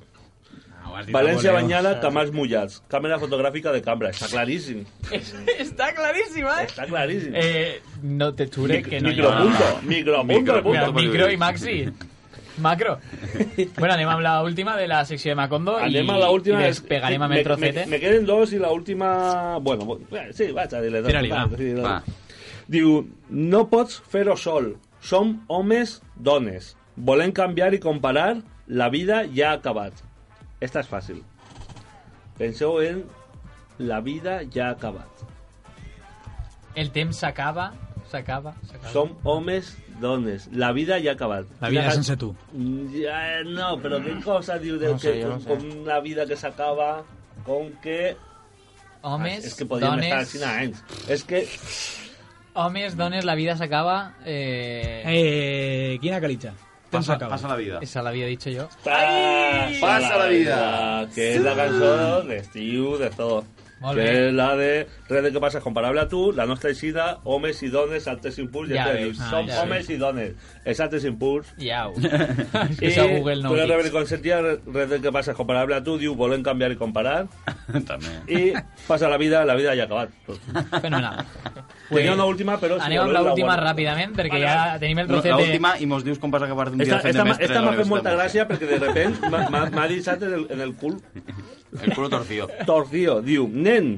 Speaker 2: Ah,
Speaker 9: València banyada, camals mullats. Càmera fotogràfica de cambra, està claríssim.
Speaker 3: Està claríssim, eh?
Speaker 9: Està claríssim.
Speaker 3: Eh, no te jure que no hi ha...
Speaker 9: micropunto, micropunto, punto.
Speaker 3: Mira, micro i maxi. Macro. Bueno, anem amb l'última de la secció de Macondo
Speaker 9: Anem
Speaker 3: i,
Speaker 9: a la última.
Speaker 3: i despegarem amb
Speaker 9: me-
Speaker 3: el trocete.
Speaker 9: Me, me queden dos i la última... Bueno, bo- eh, sí, vaig a dir-les.
Speaker 3: Tira-li, va.
Speaker 9: Sí, la-
Speaker 3: Va.
Speaker 9: Diu, no pots fer-ho sol. Som homes, dones. Volem canviar i comparar. La vida ja ha acabat. Esta és fàcil. Penseu en la vida ja ha acabat.
Speaker 3: El temps s'acaba, s'acaba, s'acaba.
Speaker 9: Som homes, dones. La vida ja ha acabat.
Speaker 4: La vida
Speaker 9: Una can-
Speaker 4: sense tu.
Speaker 9: Ja, eh, no, però què cosa diu Déu
Speaker 4: No
Speaker 9: que
Speaker 4: sé, jo
Speaker 9: con,
Speaker 4: no sé.
Speaker 9: con una vida que s'acaba, com que...
Speaker 3: Homes,
Speaker 9: Ah, és que podríem
Speaker 3: dones.
Speaker 9: estar així anys. És que...
Speaker 3: Homes, dones, la vida s'acaba... Eh...
Speaker 4: Eh, quina calitza. Temps
Speaker 2: Pasa-
Speaker 4: s'acaba.
Speaker 2: pasa la vida.
Speaker 3: Esa la había dicho yo.
Speaker 9: Ai!
Speaker 2: Pasa la vida.
Speaker 9: Que és la cançó d'estiu, de tot.
Speaker 3: Molt
Speaker 9: que
Speaker 3: bé.
Speaker 9: és la de Red de què passa comparable a tu, la nostra eixida, homes i dones, altes impuls,
Speaker 3: Ja
Speaker 9: ja,
Speaker 3: veus.
Speaker 9: ja som
Speaker 3: Ah, ja
Speaker 9: homes
Speaker 3: veus.
Speaker 9: i dones, els altes impuls.
Speaker 3: Iau.
Speaker 9: I
Speaker 3: que això Google no ho
Speaker 9: podeu
Speaker 3: dic.
Speaker 9: rebre consentia res del que passa comparable a tu, diu, volem canviar i comparar. També. I passa la vida, la vida ja ha acabat.
Speaker 3: Fenomenal.
Speaker 9: Tenia una última, però... si
Speaker 3: Anem amb
Speaker 9: voleu, la
Speaker 3: l'última
Speaker 9: guardo.
Speaker 3: ràpidament, perquè
Speaker 9: Vale,
Speaker 3: ja
Speaker 9: vale.
Speaker 3: tenim el
Speaker 2: No,
Speaker 3: trocete...
Speaker 2: L'última, i mos dius com vas acabar d'un dia
Speaker 9: Esta,
Speaker 2: de fent de
Speaker 9: esta, m'ha-
Speaker 2: mestre
Speaker 9: esta
Speaker 2: de la
Speaker 9: m'ha fet molta
Speaker 2: Universitat
Speaker 9: gràcia perquè de repent m'ha- m'ha m'ha deixat en el, en el cul.
Speaker 2: El culo torcido.
Speaker 9: Torcido. Diu, nen,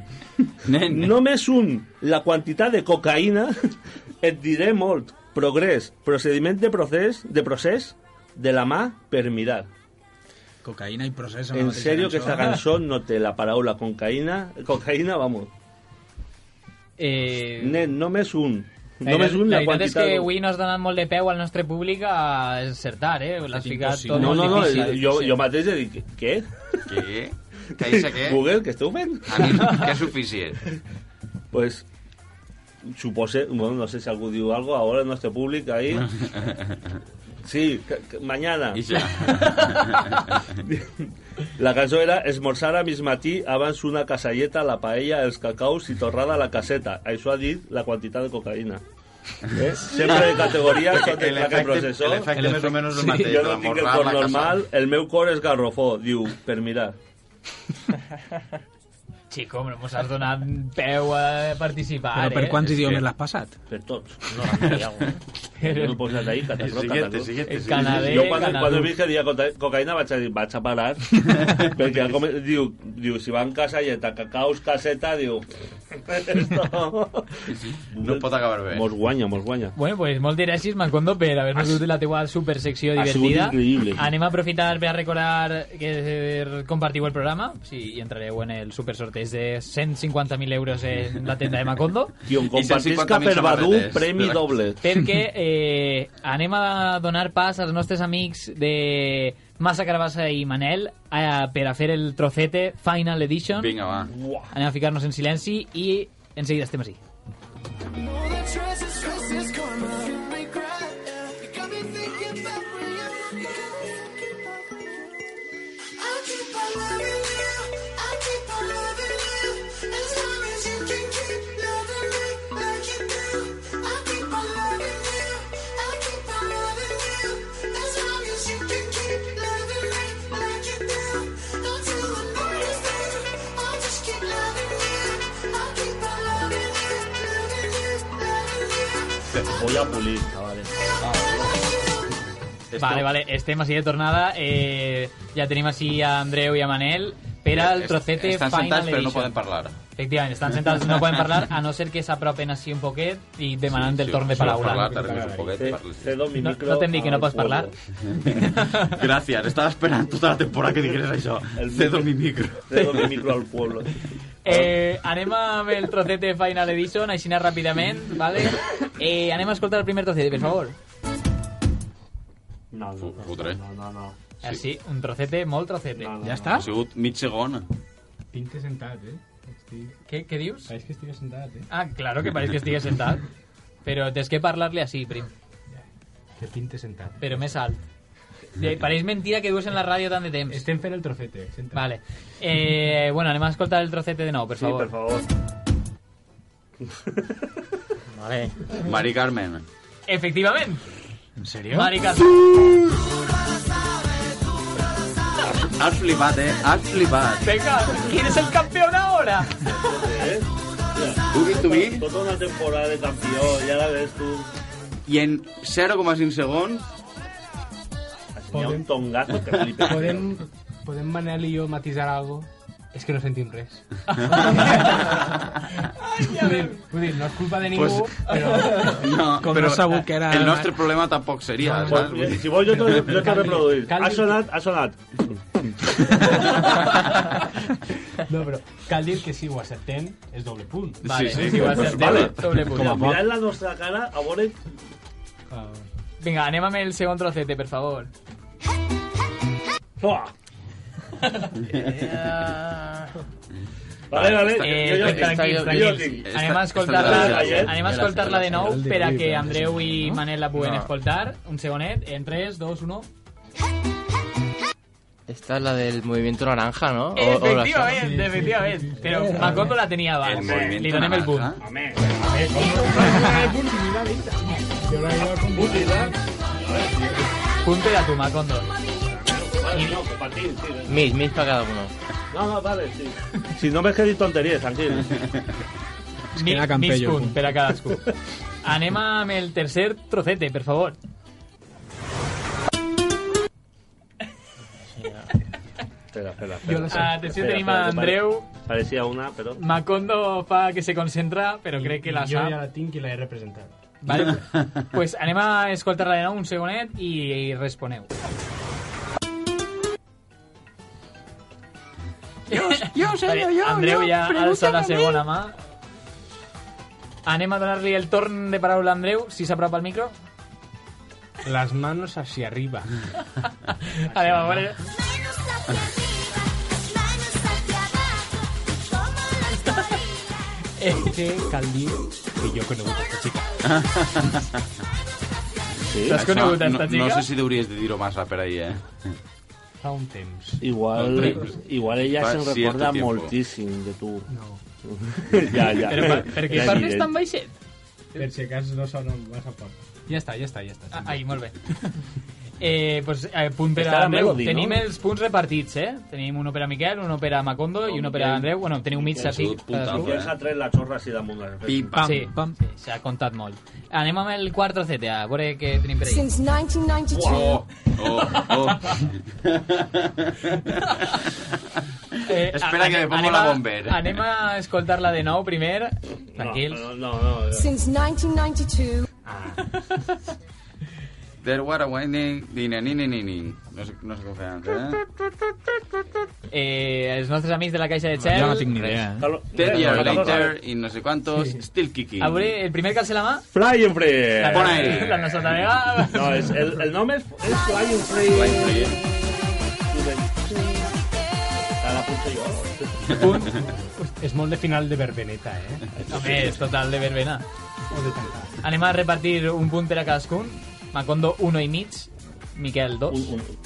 Speaker 9: nen, només un, la quantitat de cocaïna et diré molt. Progrés, procediment de procés, de procés de la mà per mirar.
Speaker 4: Cocaïna i procés amb la
Speaker 9: En
Speaker 4: mateixa
Speaker 9: serio que esta cançó no té la paraula cocaïna, cocaïna, vamos.
Speaker 3: Eh...
Speaker 9: Nen, només un.
Speaker 3: La veritat-
Speaker 9: Només un,
Speaker 3: la
Speaker 9: la,
Speaker 3: veritat és
Speaker 9: quantitat...
Speaker 3: que avui no has donat molt de peu al nostre públic a encertar, eh? L'has ficat tot
Speaker 9: no, no,
Speaker 3: molt
Speaker 9: no,
Speaker 3: difícil.
Speaker 9: jo, jo mateix he dit, què?
Speaker 2: Què? Què dice què?
Speaker 9: Google, què esteu fent?
Speaker 2: A mi, eh? que és suficient.
Speaker 9: Pues, supose, bueno, no sé si algú diu algo, ahora nuestro público ahí... Sí, que- que mañana. La cançó era esmorzar a mig matí abans una casalleta, la paella, els cacaus i torrada a la caseta. Això ha dit la quantitat de cocaïna. Eh? Sempre de categoria, tot de
Speaker 2: El
Speaker 9: claque
Speaker 2: efecte-
Speaker 9: processor.
Speaker 2: el efecte més o menys el mateix,
Speaker 9: Jo no tinc el
Speaker 2: esmorzar
Speaker 9: cor
Speaker 2: la casa.
Speaker 9: normal, el meu cor és garrofó, diu, per mirar.
Speaker 3: Chico, hombre, mos has donat peu a participar,
Speaker 4: Però per
Speaker 3: eh?
Speaker 4: quants idiomes l'has passat?
Speaker 9: Per tots.
Speaker 3: No, no,
Speaker 9: Yo no puedo estar ahí, catapló,
Speaker 3: Siguiente,
Speaker 9: catapló.
Speaker 3: siguiente, El siguiente. canadé,
Speaker 9: Yo cuando,
Speaker 3: canadú.
Speaker 9: cuando vi que diga cota- cocaína, vaig a, dir, vaig a parar. perquè com, diu, diu, si van casalleta, cacaus, caseta, diu... Esto...
Speaker 2: No pot acabar bé.
Speaker 9: Mos guanya, mos guanya.
Speaker 3: Bueno, pues molt gràcies, Macondo, per haver-nos dut la teua supersecció
Speaker 9: ha sigut
Speaker 3: divertida.
Speaker 9: increïble.
Speaker 3: Anem a aprofitar per a recordar que eh, compartiu el programa, si hi entrareu en el supersorteig de 150.000 euros en la tenda de Macondo.
Speaker 9: Tio, compartisca per Badu, premi doble.
Speaker 3: Perquè eh, anem a donar pas als nostres amics de Massa Carabassa i Manel eh, per a fer el trocete Final Edition.
Speaker 2: Vinga, va.
Speaker 3: Anem a ficar-nos en silenci i en seguida estem així.
Speaker 9: Voy a pulir, chavales.
Speaker 3: Vale, vale, estem així de tornada. Eh, ja tenim així a Andreu i a Manel per al
Speaker 2: Est-
Speaker 3: trocete
Speaker 2: Estan
Speaker 3: Final
Speaker 2: sentats, però
Speaker 3: Edition.
Speaker 2: no poden parlar.
Speaker 3: Efectivament, estan sentats, no poden parlar, a no ser que s'apropen així un poquet i demanen del torn de paraula.
Speaker 2: Parlar, tardes un poquet, parles.
Speaker 9: Cedo mi
Speaker 3: No,
Speaker 9: micro
Speaker 3: no t'hem dit que no
Speaker 9: al
Speaker 3: pots
Speaker 9: pueblo.
Speaker 3: parlar.
Speaker 2: Gràcies, estava esperant tota la temporada que digués això. Cedo mi micro.
Speaker 9: Cedo mi micro al pueblo.
Speaker 3: Eh, anem amb el trocete Final Edition, així anar ràpidament, vale? Eh, anem a escoltar el primer trocete, per favor.
Speaker 9: No, no,
Speaker 2: Fotre.
Speaker 9: no, no, no.
Speaker 3: Ah, Sí, Així, un trocete, molt trocete. No,
Speaker 2: Ha sigut mig segon.
Speaker 17: Tinc que sentat, eh? Estic...
Speaker 3: Què, què dius?
Speaker 17: Pareix que estic sentat, eh?
Speaker 3: Ah, claro que pareix que estigues sentat. Però tens que parlar-li així, prim.
Speaker 17: Que pinte sentat.
Speaker 3: Però més alt. Eh, Pareix mentira que dues en la ràdio tant de temps.
Speaker 17: Estem fent el trocete. Senta.
Speaker 3: Vale. Eh, bueno, anem a escoltar el trocete de nou, per
Speaker 2: Sí,
Speaker 3: favor.
Speaker 2: per
Speaker 9: favor.
Speaker 3: Vale.
Speaker 2: Mari Carmen.
Speaker 3: Efectivament.
Speaker 2: En
Speaker 3: sèrio? Mari
Speaker 2: Carmen. Has flipat, eh? Has flipat.
Speaker 3: Venga, ¿quién es el campeón ahora?
Speaker 2: Tu vi, tu vi.
Speaker 9: Toda una temporada de campeón, ya la ves tú.
Speaker 2: I en 0,5 segons
Speaker 9: ensenyar un
Speaker 4: Podem-
Speaker 9: tongazo que flipes.
Speaker 4: Podem, podem Manel i jo matisar algo? És que no sentim res. vull, dir, vull dir, no és culpa de ningú,
Speaker 2: Pues-
Speaker 4: però...
Speaker 2: No,
Speaker 18: Com
Speaker 2: però
Speaker 18: no sabut que era-
Speaker 2: el nostre problema tampoc seria,
Speaker 9: Pues,
Speaker 2: saps?
Speaker 9: mira, si vols jo t'ho jo t'ho reproduïs.
Speaker 4: Cal-
Speaker 9: Ha sonat, ha sonat.
Speaker 4: No, però cal dir que si ho acceptem és doble punt.
Speaker 9: Vale,
Speaker 2: sí, si ho per acceptem, supost. doble punt.
Speaker 4: Com a
Speaker 9: Mirad
Speaker 4: poc.
Speaker 9: la nostra cara, a veure...
Speaker 3: Vinga, anem amb el segon trocete, per favor.
Speaker 9: Vale, vale,
Speaker 3: Eh,
Speaker 9: jo- jo-
Speaker 3: tranquils,
Speaker 9: jo-
Speaker 3: tranquils.
Speaker 9: jo-
Speaker 3: Anem a
Speaker 9: esta-
Speaker 3: escoltar-la
Speaker 9: esta- esta-
Speaker 3: anem a
Speaker 9: esta-
Speaker 3: escoltar-la de nou
Speaker 9: esta-
Speaker 3: per a que
Speaker 9: esta-
Speaker 3: Andreu i Manel la puguen
Speaker 8: No.
Speaker 3: escoltar. Un segonet, en 3, 2, 1...
Speaker 8: Esta es la del movimiento naranja, ¿no? O- o la-
Speaker 3: Efectivamente, efectivamente. Pero Macondo la tenía
Speaker 8: El
Speaker 3: abajo.
Speaker 8: movimiento
Speaker 3: Le donem el punt.
Speaker 8: naranja.
Speaker 3: Home, Punto de tu, Macondo.
Speaker 9: Vale, no, compartir, sí.
Speaker 8: Mil, mil para cada uno.
Speaker 9: No, no, vale, sí. Si no m'has dit tonteries, tranquil.
Speaker 3: Mi- Mig punt per a cadascú. Anem amb el tercer trocete, per favor.
Speaker 9: Espera, espera,
Speaker 3: Jo la sé.
Speaker 8: Ah,
Speaker 3: Atenció, tenim a Andreu.
Speaker 9: Parecía una, però...
Speaker 3: Macondo fa que se concentra, però crec que la
Speaker 4: Jo ja
Speaker 3: sap.
Speaker 4: la tinc i la he representat.
Speaker 3: Vale. pues anem a escoltar-la de nou un segonet i, i responeu. Jo, jo, senyor, jo, Andreu
Speaker 7: jo,
Speaker 3: ja ha alçat la
Speaker 7: pregúntame a mi.
Speaker 3: segona mà. Anem a donar-li el torn de paraula a Andreu, si s'apropa al micro.
Speaker 4: Las manos hacia arriba.
Speaker 3: Anem a veure...
Speaker 4: És que cal dir que jo he conegut aquesta xica.
Speaker 2: Sí,
Speaker 4: T'has
Speaker 2: això
Speaker 4: conegut
Speaker 2: no,
Speaker 4: esta
Speaker 2: No
Speaker 4: xica?
Speaker 2: sé si hauries de dir-ho massa per ahir, eh?
Speaker 4: Fa un temps.
Speaker 2: Fa
Speaker 9: Igual,
Speaker 2: un temps.
Speaker 9: igual ella
Speaker 2: Fa
Speaker 9: se
Speaker 2: cierto
Speaker 9: recorda
Speaker 2: tiempo.
Speaker 9: moltíssim de tu. No. ja, ja.
Speaker 3: Però per- per què
Speaker 9: Ja
Speaker 3: parles
Speaker 9: diré.
Speaker 3: tan baixet?
Speaker 4: Per si cas no sona massa fort. Ja està, ja està, ja està.
Speaker 3: Ah, ahí, molt bé. Eh, pues, eh, punt per
Speaker 4: Està
Speaker 3: a
Speaker 4: la
Speaker 3: Andreu.
Speaker 4: Melody, no?
Speaker 3: Tenim els punts repartits, eh? Tenim un per a Miquel, un per a Macondo i un per a Andreu. Bueno, teniu mig
Speaker 9: Miquel,
Speaker 3: aquí.
Speaker 9: salut, puntal, Miquel s'ha tret la xorra així damunt.
Speaker 3: Pim, pam. Sí, pam. Sí, s'ha comptat molt. Anem amb el quart trocete, a veure què tenim per ahí.
Speaker 19: Since 1992.
Speaker 3: Wow.
Speaker 2: Oh, oh.
Speaker 3: Eh,
Speaker 2: Espera que me pongo
Speaker 3: anem
Speaker 2: la
Speaker 3: a-
Speaker 2: bomber.
Speaker 3: Anem a escoltar-la de nou primer. Tranquils.
Speaker 9: No, no, no.
Speaker 19: Since 1992.
Speaker 2: There were a winning... Nina, nina, nina. No sé, no sé com feien antes, eh?
Speaker 3: Eh, els nostres amics de la caixa de Xel.
Speaker 9: ¿eh?
Speaker 2: Ten years later i no sé quantos, still kicking.
Speaker 3: A veure, el primer que alça la mà...
Speaker 9: Fly and Free.
Speaker 3: La-
Speaker 2: Pon ahí.
Speaker 3: La nostra tarea...
Speaker 9: No, és, el, el nom és, és Fly and Free.
Speaker 2: Fly and Free.
Speaker 9: A la punta jo.
Speaker 4: Un, és molt de final de verbeneta, eh?
Speaker 3: Home, és total de verbena. Anem a repartir un punt per a cadascun. Macondo, 1 i mig. Miquel, 2.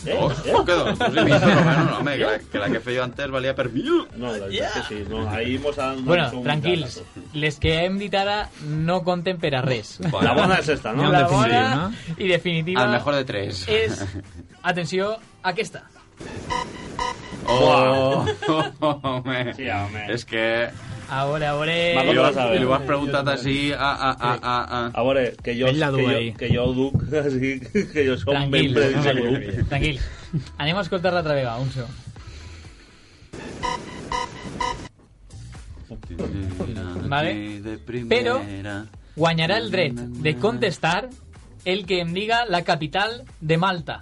Speaker 9: ¿eh?
Speaker 2: Dos, ¿por qué dos? Dos y medio, por lo menos, no, hombre, que la, que la que feio antes valía per mil.
Speaker 9: No, la veritat que sí. No, ahí mos han...
Speaker 3: Bueno,
Speaker 9: mos han
Speaker 3: tranquils. Les que hem dit ara no compten per a res.
Speaker 9: La bona és esta, no?
Speaker 3: La bona i definitiva...
Speaker 2: Al mejor de tres.
Speaker 3: És, atenció, aquesta.
Speaker 2: Oh, home.
Speaker 3: Sí, home.
Speaker 2: És que...
Speaker 3: A veure, a veure...
Speaker 2: I ho, i ho has preguntat així a, a, a, a, a...
Speaker 9: A veure, que jo,
Speaker 3: Ell la du
Speaker 9: que jo,
Speaker 3: ahí.
Speaker 9: que jo ho duc, així que jo som ben
Speaker 3: Tranquils,
Speaker 9: predissegut.
Speaker 3: tranquils. Anem a escoltar-la altra vegada, un segon. Vale. Però guanyarà el dret de contestar el que em diga la capital de Malta.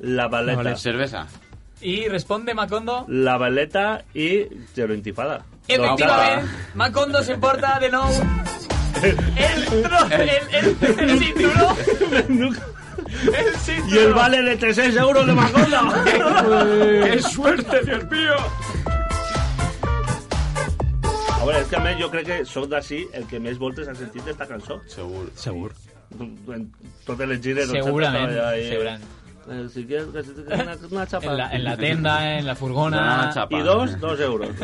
Speaker 9: La baleta.
Speaker 2: Vale. Cervesa.
Speaker 3: I responde Macondo.
Speaker 9: La baleta i zero intifada.
Speaker 3: Efectivament, Macondo s'emporta de nou el, tro, el, el, el cinturó. El cinturó.
Speaker 9: Y el vale de 36 euros de Macondo.
Speaker 2: ¡Qué suerte, Dios mío!
Speaker 9: A veure, és que a més jo crec que sóc d'ací el que més voltes ha sentit d'esta cançó.
Speaker 2: Segur.
Speaker 9: Segur. En totes les gires...
Speaker 3: Segurament, segurament.
Speaker 9: Eh, Si quieres, que si quieres una, una chapa.
Speaker 3: En la, en la tenda, en la furgona...
Speaker 9: I dos, dos euros.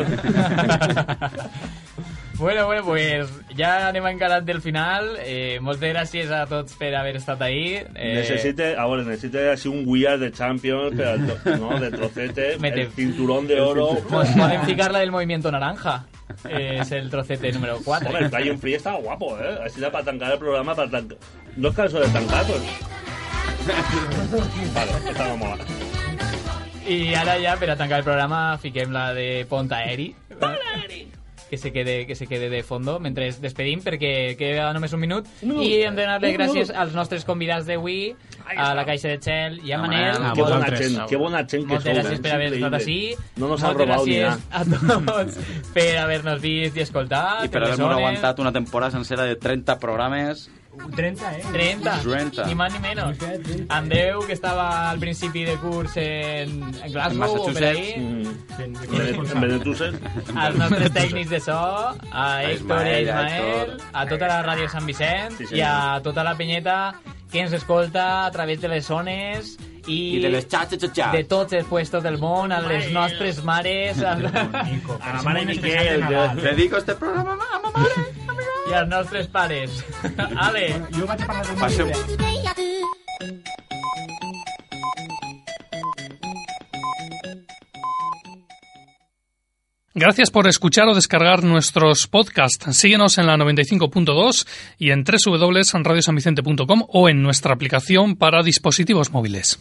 Speaker 3: Bueno, bueno, pues ja anem encarat del final. Eh, moltes gràcies a tots per haver estat ahí. Eh,
Speaker 9: Necesite, ahora necesite así un We Are the Champions, pero al to- no, de trocete,
Speaker 3: Mete.
Speaker 9: el cinturón de oro.
Speaker 3: Pues podem ficar la del movimiento naranja. Eh, és el trocete número 4.
Speaker 9: Hombre, el Fly and Free estaba guapo, ¿eh? Así da para tancar el programa, para tancar... No es caso de tancar, pues. vale, esta no mola.
Speaker 3: I ara ja, per a tancar el programa, fiquem la de Ponta Aeri. Que se, quede, que se quede de fondo mentre es despedim perquè queda només un minut
Speaker 20: No.
Speaker 3: i hem de
Speaker 20: No,
Speaker 3: donar-les
Speaker 20: no.
Speaker 3: gràcies als nostres convidats d'avui a la Caixa de Txell i a,
Speaker 9: A
Speaker 2: eh,
Speaker 3: Manel
Speaker 9: Manel, que bona gent, que bona gent que
Speaker 3: moltes
Speaker 9: sou,
Speaker 3: gràcies
Speaker 9: eh?
Speaker 3: per haver estat així
Speaker 9: Increïble. No nos ha
Speaker 3: moltes
Speaker 9: robat ni
Speaker 3: gràcies a tots per haver-nos vist i escoltat
Speaker 2: I per
Speaker 3: en les
Speaker 2: haver-nos
Speaker 3: hores.
Speaker 2: aguantat una temporada sencera de 30 programes.
Speaker 3: 30, eh? 30.
Speaker 2: 30.
Speaker 3: Ni más ni menos. Andreu, que estava al principi de curs en, en
Speaker 2: En
Speaker 3: Glasgow, o per
Speaker 2: Massachusetts.
Speaker 3: ahí.
Speaker 9: Mm. En Benetússer.
Speaker 3: Als nostres tècnics de so, a
Speaker 9: A
Speaker 3: Héctor i a
Speaker 9: Ismael, a
Speaker 3: Ismael,
Speaker 9: Héctor.
Speaker 3: a tota la ràdio Sant Vicent
Speaker 9: Sí, senyor.
Speaker 3: i a tota la penyeta que ens escolta a través de les zones i,
Speaker 2: I de les xatxes, xatxes.
Speaker 3: de tots els puestos del món, a les nostres mares, a, a
Speaker 2: la mare Miquel, que- Dedico este programa a ma
Speaker 3: i als nostres pares. Ale! Jo vaig a parlar
Speaker 2: un Passeu. llibre.
Speaker 1: Gracias por escuchar o descargar nuestros podcasts. Síguenos en la 95.2 y en www.radiosanvicente.com o en nuestra aplicación para dispositivos móviles.